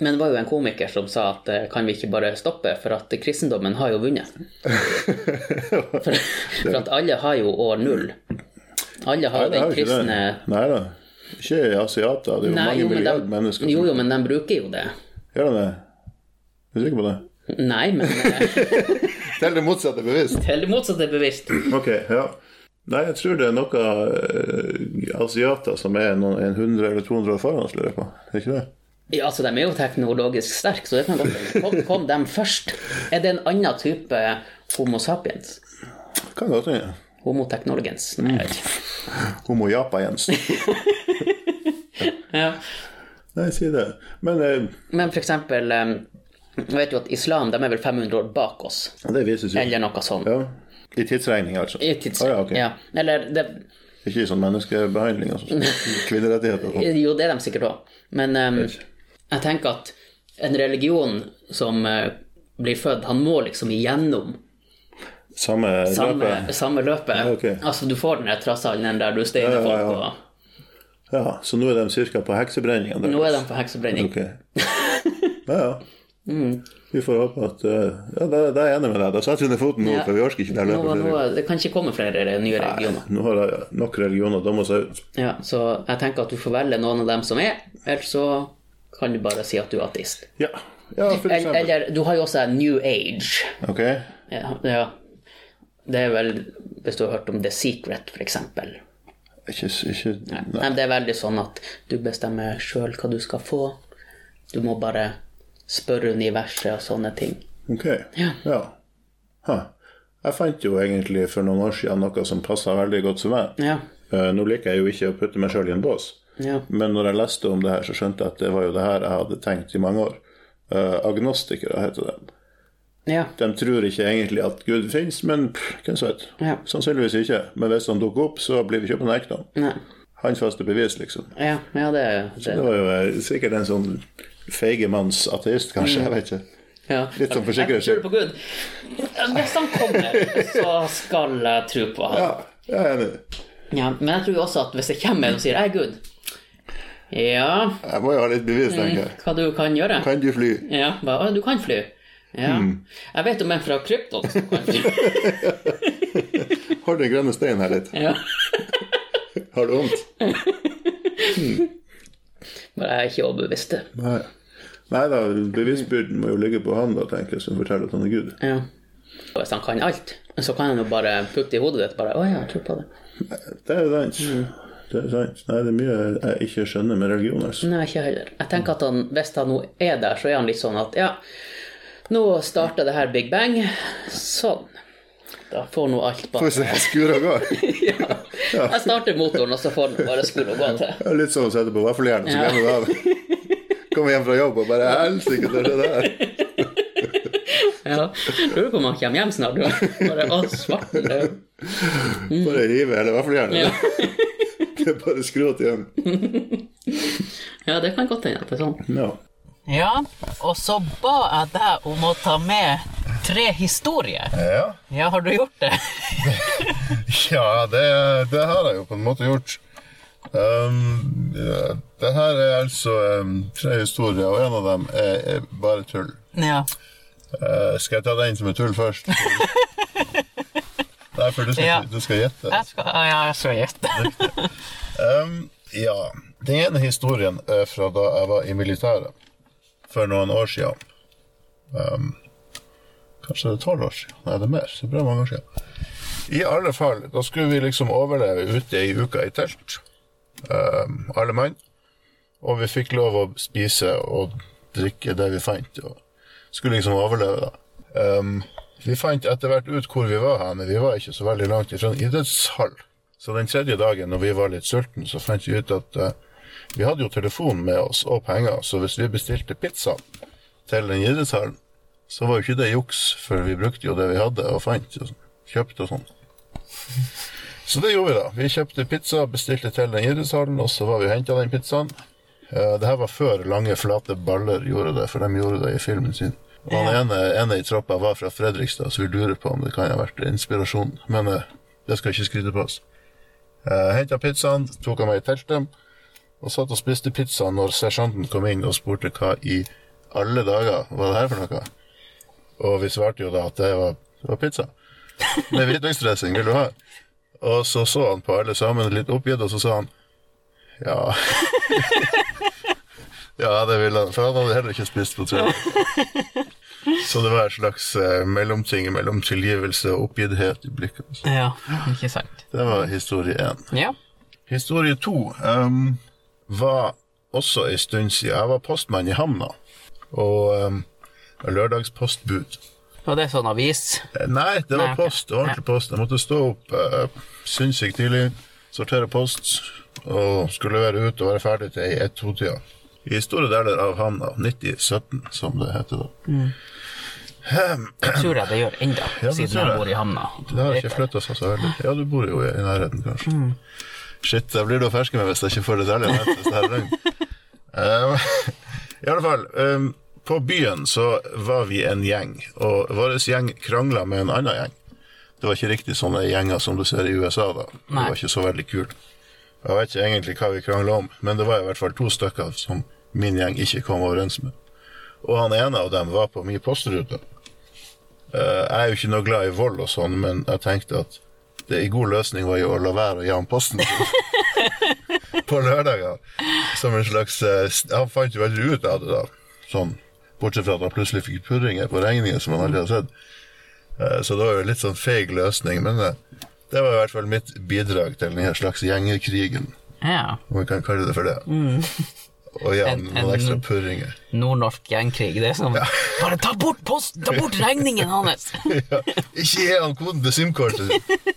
Men det var jo en komiker som sa at eh, kan vi ikke bare stoppe, for at kristendommen har jo vunnet. For, for at alle har jo år null. Alle har jo
Nei, det
den
jo ikke
kristne
det. Nei da. Ikke asiater. Det er jo
Nei,
mange
jo, men de-
milliarder mennesker. som-
Jo, jo, men de bruker jo det.
Gjør han det? Er du sikker på det?
Nei, men eh,
Det er det motsatte bevisst.
det er det motsatte bevisst.
Ok, ja. Nei, jeg tror det er noe eh, asiater som er noen, en 100 eller 200 år foran oss, lurer jeg på. Er ikke det?
Ja, altså, de er jo teknologisk sterke, så det kan godt hende. Kom, kom dem først. Er det en annen type Homo sapiens?
Kan godt hende.
Homo technologens? Nei, jeg vet ikke.
Homo japa, Jens.
Ja.
Nei, si det. Men eh,
Men for eksempel eh, Jeg vet jo at islam de er vel 500 år bak oss,
det vises jo.
eller noe sånt.
Ja. I tidsregning, altså.
I tids...
Å,
ja,
ja, ok.
Eller det
Ikke i sånn menneskebehandling, altså. Kvinnerettigheter. og-
er jo det de sikkert òg. Men eh, jeg tenker at en religion som eh, blir født, han må liksom igjennom
Samme
samme,
løpet.
samme løpet.
Ja, ok.
Altså, du får den der trasshallen der du steiner
Ja, ja, ja.
folk og
Ja, så nå er de cirka på heksebrenningen. der.
Nå er de på heksebrenning.
Ok. Ja, ja. Vi får håpe at eh, Ja, da, da er jeg enig med deg. Da setter vi ned foten nå,
Ja.
for vi orker ikke det her
Nå,
løpet.
nå, det kan ikke komme flere eh, nye religioner.
Nå har jeg nok religioner dumma seg ut.
Ja, så jeg tenker at du får velge noen av dem som er, eller så kan du bare si at du er ateist.
Ja, ja for
Eller,
eksempel.
eller du har jo også New Age.
Ok.
Ja, ja. Det er vel Hvis du har hørt om The Secret, f.eks. Nei.
Ikke, ikke nei.
men Det er veldig sånn at du bestemmer sjøl hva du skal få. Du må bare spørre universet og sånne ting.
Ok. Ja. Ha. Jeg fant jo egentlig for noen år siden noe som passa veldig godt for meg.
Ja.
Eh, Nå liker jeg jo ikke å putte meg sjøl i en bås.
ja.
Men når jeg leste om det her, så skjønte jeg at det var jo det her jeg hadde tenkt i mange år. Eh, agnostikere heter det.
ja.
De tror ikke egentlig at Gud finnes, men pff, hvem vet?
Ja.
Sannsynligvis ikke. Men hvis han dukker opp, så blir vi ikke på nekta.
Nei.
Handfaste bevis, liksom.
Ja, ja det, det
Det var jo eh, sikkert en sånn feige manns ateist, kanskje. Jeg vet ikke.
ja.
Litt sånn for sikkerhets
Jeg
skyld.
tror på Gud. Hvis han kommer, så skal jeg tro på han.
Ja, jeg er enig.
Ja, men jeg tror jo også at hvis det kommer en og sier 'Jeg er Gud', ja,
Jeg må jo ha litt bevis, tenker jeg.
hva du kan gjøre?
Kan du fly?
Ja, Mm. bare, «Å, du kan fly. Ja. Jeg vet om en fra Krypton som kan fly.
Hold den grønne steinen her litt.
ja.
Har du vondt?
Bare jeg er ikke overbevist.
Nei. Nei da, bevisbyrden må jo ligge på han, da, tenker jeg, som forteller at han er Gud.
Ja. Og hvis han kan alt, så kan han jo bare putte i hodet ditt bare Å ja, jeg tror på det.
Det er sant. Det er sant. Nei, det er mye jeg ikke skjønner med religion, altså.
Nei, ikke jeg heller. Jeg tenker at han, hvis han nå er der, så er han litt sånn at ja, nå starter det her Big Bang. Sånn. Da får nå alt
Får
bare
vi se, skura går.
ja. Jeg starter motoren, og så får den bare skru og gå til.
Det er litt som å sette på vaffeljern, og så glemmer du det av. Kommer hjem fra jobb og bare Helsike, det er det der.
Ja. Lurer på om han kommer hjem snart. du. Bare å, svarten død.
Bare hive hele vaffeljernet.
Ja.
Det er bare skrot igjen.
ja, det kan godt hende at det er sånn.
Ja.
Ja, og så ba jeg deg om å ta med tre historier.
Ja,
Ja, har du gjort det?
ja det, det har jeg jo på en måte gjort. Um, ja, det her er altså um, tre historier, og en av dem er, er bare tull.
Ja.
Eh, skal jeg ta den som er tull først? Nei, for du skal,
Ja.
du skal gjette.
Jeg skal, ja, jeg skal gjette.
Um, ja. Den ene historien er fra da jeg var i militæret for noen år siden. Um, kanskje det er tolv år siden? Nei, det er mer. Det er bra mange år siden. I alle fall, da skulle vi liksom overleve ute i uka i telt, um, alle mann. Og vi fikk lov å spise og drikke det vi fant, og skulle liksom overleve, da. Um, vi fant etter hvert ut hvor vi var hen, men vi var ikke så veldig langt ifra en idrettshall. Så den tredje dagen, når vi var litt sultne, så fant vi ut at eh, vi hadde jo telefon med oss og penger, så hvis vi bestilte pizza til den idrettshallen, så var jo ikke det juks, for vi brukte jo det vi hadde og fant og kjøpte og sånn. Så det gjorde vi, da. Vi kjøpte pizza, bestilte til den idrettshallen, og så var vi og henta den pizzaen. Uh, det her var før Lange flate baller gjorde det, for de gjorde det i filmen sin. Og han ene, ene i troppa var fra Fredrikstad, så vi lurer på om det kan ha vært inspirasjon. Men eh, det skal ikke skryte på oss. Uh, Henta pizzaen, tok han meg i teltet, og satt og spiste pizza når sersjanten kom inn og spurte hva i alle dager var det her for noe. Og vi svarte jo da at det var, det var pizza. Med hvitløksdressing, vil du ha? Og så så han på alle sammen litt oppgitt, og så sa han ja. ja, det ville han, for han hadde heller ikke spist på tre år. Så det var en slags eh, mellomting mellom tilgivelse og oppgitthet i blikket. altså.
Ja, ikke sant.
Det var historie én.
Ja.
Historie to ehm, var også en stund siden. Jeg var postmann i hamna. Og ehm, lørdagspostbud.
Og det er sånn avis.
Eh, Nei, det
Nei,
var
ok.
post. det var Ordentlig post. Jeg måtte stå opp eh, sinnssykt tidlig, sortere post, og skulle være ute og være ferdig til ei ett-to-tida. I store deler av havna, 9017 som det heter da.
Mm. Tror jeg det gjør enda,
Ja, det
siden
tror
jeg
jeg.
bor i hamna.
Det har ikke flytta seg så veldig. Ja, du bor jo i nærheten, kanskje. Shit, jeg blir da ferske med hvis jeg ikke får detaljer. vet du, hvis det her er løgn. Eh, I alle fall, eh, på byen så var vi en gjeng, og vår gjeng krangla med en annen gjeng. Det var ikke riktig sånne gjenger som du ser i USA, da.
Nei.
Det var ikke så veldig kult. Jeg vet ikke egentlig hva vi krangla om, men det var i hvert fall to stykker som min gjeng ikke kom overens med. Og han ene av dem var på min postrute. Eh, Jeg er jo ikke noe glad i vold og sånn, men jeg tenkte at det en god løsning var jo å la være å gi han posten sin på lørdager. Som en slags eh, st- Han fant jo veldig ut av det, da. Sånn, bortsett fra at han plutselig fikk purringer på regninger som han aldri har sett. Eh, Så det var jo litt sånn feig løsning, men eh, det var i hvert fall mitt bidrag til denne slags gjengekrigen,
Ja.
om vi kan kalle det for det. Og
Mm.
ja,
En-
noen
en-
ekstra purringer.
Nordnorsk gjengkrig. Det er sånn Bare ta bort posten! Ta bort regningen hans!
Ja, ikke gi han koden til SIM-kortet sitt.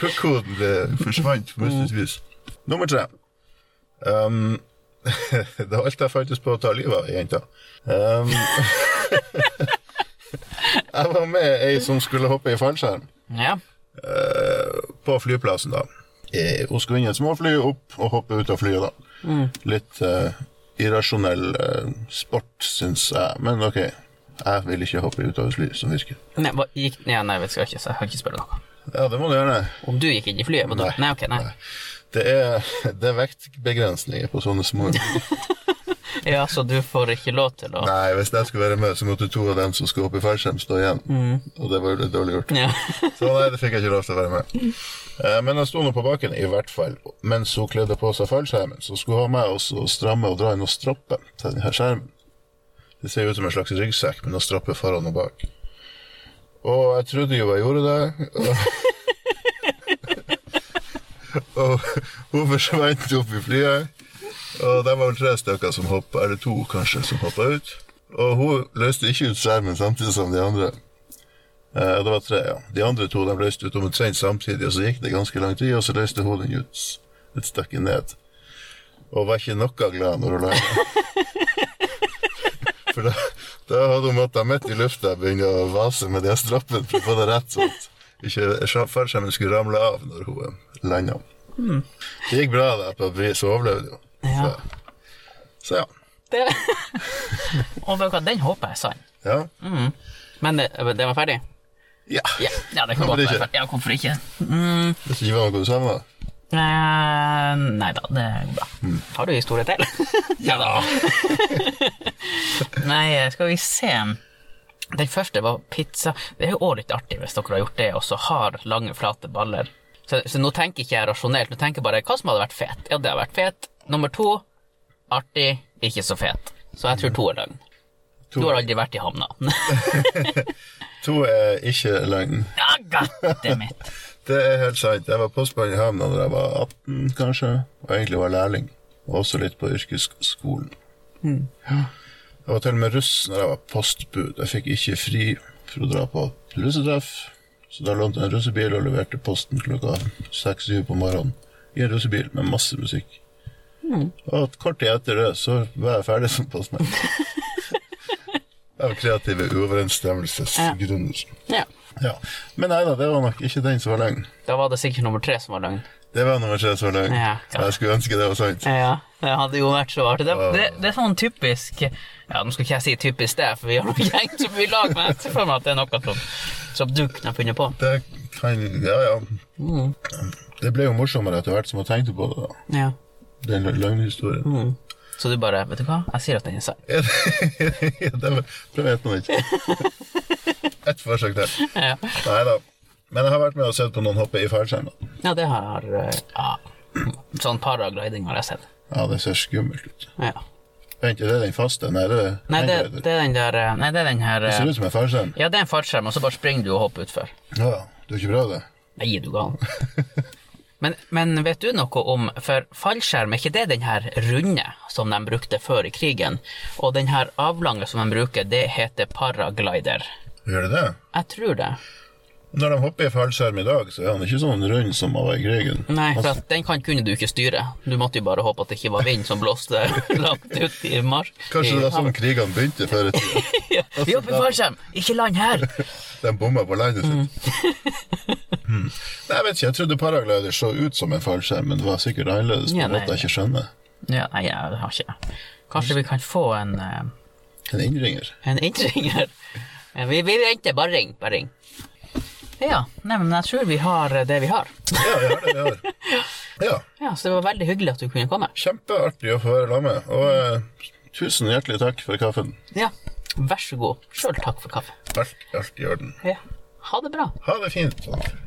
Puck-koden ble- forsvant på mystisk vis. Nummer tre. Um, det var alt jeg faktisk på å ta livet av ei jente. Um, jeg var med ei som skulle hoppe i fallskjerm
Ja.
på flyplassen, da. Eh, Hun skulle inn i et småfly, opp og hoppe ut av flyet, da. Litt eh, irrasjonell eh, sport, syns jeg. Men OK, jeg vil ikke hoppe ut av et fly som virker.
Nei, hva, gikk, ja, nei, vi skal ikke, så jeg kan ikke spørre noe.
Ja, det må du gjerne.
Om du gikk inn i flyet? På nei.
Nei.
nei, ok, nei.
Det er, det er vektbegrensninger på sånne små
Ja, så du får ikke lov til å
Nei, hvis jeg skulle være med, så måtte to av dem som skulle opp i fallskjerm, stå igjen. Og det var jo litt dårlig gjort.
Ja.
Så nei, det fikk jeg ikke lov til å være med. Eh, Men jeg sto nå på baken, i hvert fall. Mens hun kledde på seg fallskjermen, så skulle hun ha meg også å stramme og dra i noen stropper til denne skjermen. Det ser jo ut som en slags ryggsekk med noen stropper foran og bak. Og jeg trodde jo jeg gjorde det. og- Og hun forsvant opp i flyet. Og det var vel tre stykker som hoppa, eller to kanskje, som hoppa ut. Og hun løste ikke ut skjermen samtidig som de andre. Eh, det var tre, ja. De andre to de løste ut omtrent samtidig, og så gikk det ganske lang tid, og så løste hun den ut s- et stykke ned. Og var ikke noe glad når hun la den. For da, da hadde hun måttet midt i lufta begynne å vase med de strappene for å få det rett, sånn at ikke fallskjermen skulle ramle av når hun landa. Det gikk bra, da, på et vis. Hun overlevde jo.
Mm. Ja.
Så ja.
Det... Og vet du hva, den håper jeg er sann.
Ja.
Men eh, det, den var ferdig?
ja.
Mm. Ja, ja det kan
Hvorfor
godt være
ikke?
ferdig. Ja, hvorfor ikke?
Hvis det ikke var noe du savna?
Eh, nei da, det går bra. Har du historie til? ja da. nei, skal vi se. Den første var pizza. Det er jo også litt artig hvis dere har gjort det, og så har lange, flate baller. Så, så nå tenker ikke jeg rasjonelt, nå tenker jeg bare hva som hadde vært fet. Ja, det hadde vært fet. Nummer to, artig, ikke så fet. Så jeg tror to er løgn. Du har aldri vært i havna.
To er ikke løgn.
ja, goddammit.
Det er helt sant. Jeg var postmann i havna da jeg var 18, kanskje, og egentlig var lærling. Og også litt på yrkesskolen. Ja. Jeg var til og med russ når jeg var postbud. Jeg fikk ikke fri for å dra på russetreff, så da lånte jeg en russebil og leverte posten klokka 6-7 på morgenen i en russebil med masse musikk. Og kort tid etter det så var jeg ferdig som postmann. Av kreative uoverensstemmelsesgrunner.
Ja.
Ja. Men nei da, det var nok ikke den som var løgn.
Da var det sikkert nummer tre som var løgn.
Det var nummer tre som var løgn.
Ja, ja.
Jeg skulle ønske det var sant.
Ja, det hadde jo vært så artig. Det, det, det er sånn typisk Ja, nå skal ikke jeg si typisk det, for vi har ikke hengt så mye i lag, men jeg ser for meg at det er noe som, som du kunne ha funnet på.
Det kan Ja, ja.
Mm.
Det ble jo morsommere etter hvert som jeg tenkte på det. da.
Ja.
Den lø- løgnhistorien.
Mm. Så du bare Vet du hva, jeg sier at den er sann.
Ja, det- det var- det vet man ikke. Ett forsøk til.
Ja.
Nei da. Men jeg har vært med og sett på noen hoppe i fallskjerm. da.
ja, det har eh, ja. Sånn paragliding har jeg sett.
Ja, det ser skummelt ut.
Ja.
Vent, er det den faste? Nei, det er
Nei, det,
det,
det er den der eh, Nei, det er den her eh,
ser ut som en fallskjerm.
Ja, det er en fallskjerm, og så bare springer du og hopper utfor.
Ja, ja. du har ikke prøvd det?
Nei, er du gal. Men, men vet du noe om For fallskjerm, er ikke det den her runde som de brukte før i krigen? Og den her avlange som de bruker, det heter paraglider.
Gjør det det?
Jeg tror det.
Når de hopper i fallskjerm i dag, så er han ikke sånn rund som han var i krigen.
Nei, for
Altså,
at den kan, kunne du ikke styre. Du måtte jo bare håpe at det ikke var vind som blåste langt ut i mars.
Kanskje det var sånn krigene begynte før i tida.
Vi jobber i fallskjerm, ikke land her!
De bomma på landet
Mm.
sitt. Hmm. Nei, jeg vet ikke, jeg trodde paraglider så ut som en fallskjerm, men det var sikkert annerledes. på
Ja,
en
nei.
måte jeg ikke skjønner.
Ja, nei, jeg har ikke Kanskje vi kan få en, eh,
En innringer.
en innringer? Eh, Vi, vi venter, bare ring, bare ring. Ja, nei, men jeg tror vi har eh, det vi har.
Ja, vi har det, vi har. Ja,
Ja, så det var veldig hyggelig at du kunne komme.
kjempeartig å få være sammen med, og eh, tusen hjertelig takk for kaffen.
Ja. Vær så god. Sjøl takk for kaffe.
Alt, alt i orden.
Ja. Ha det bra.
Ha det fint. sånn.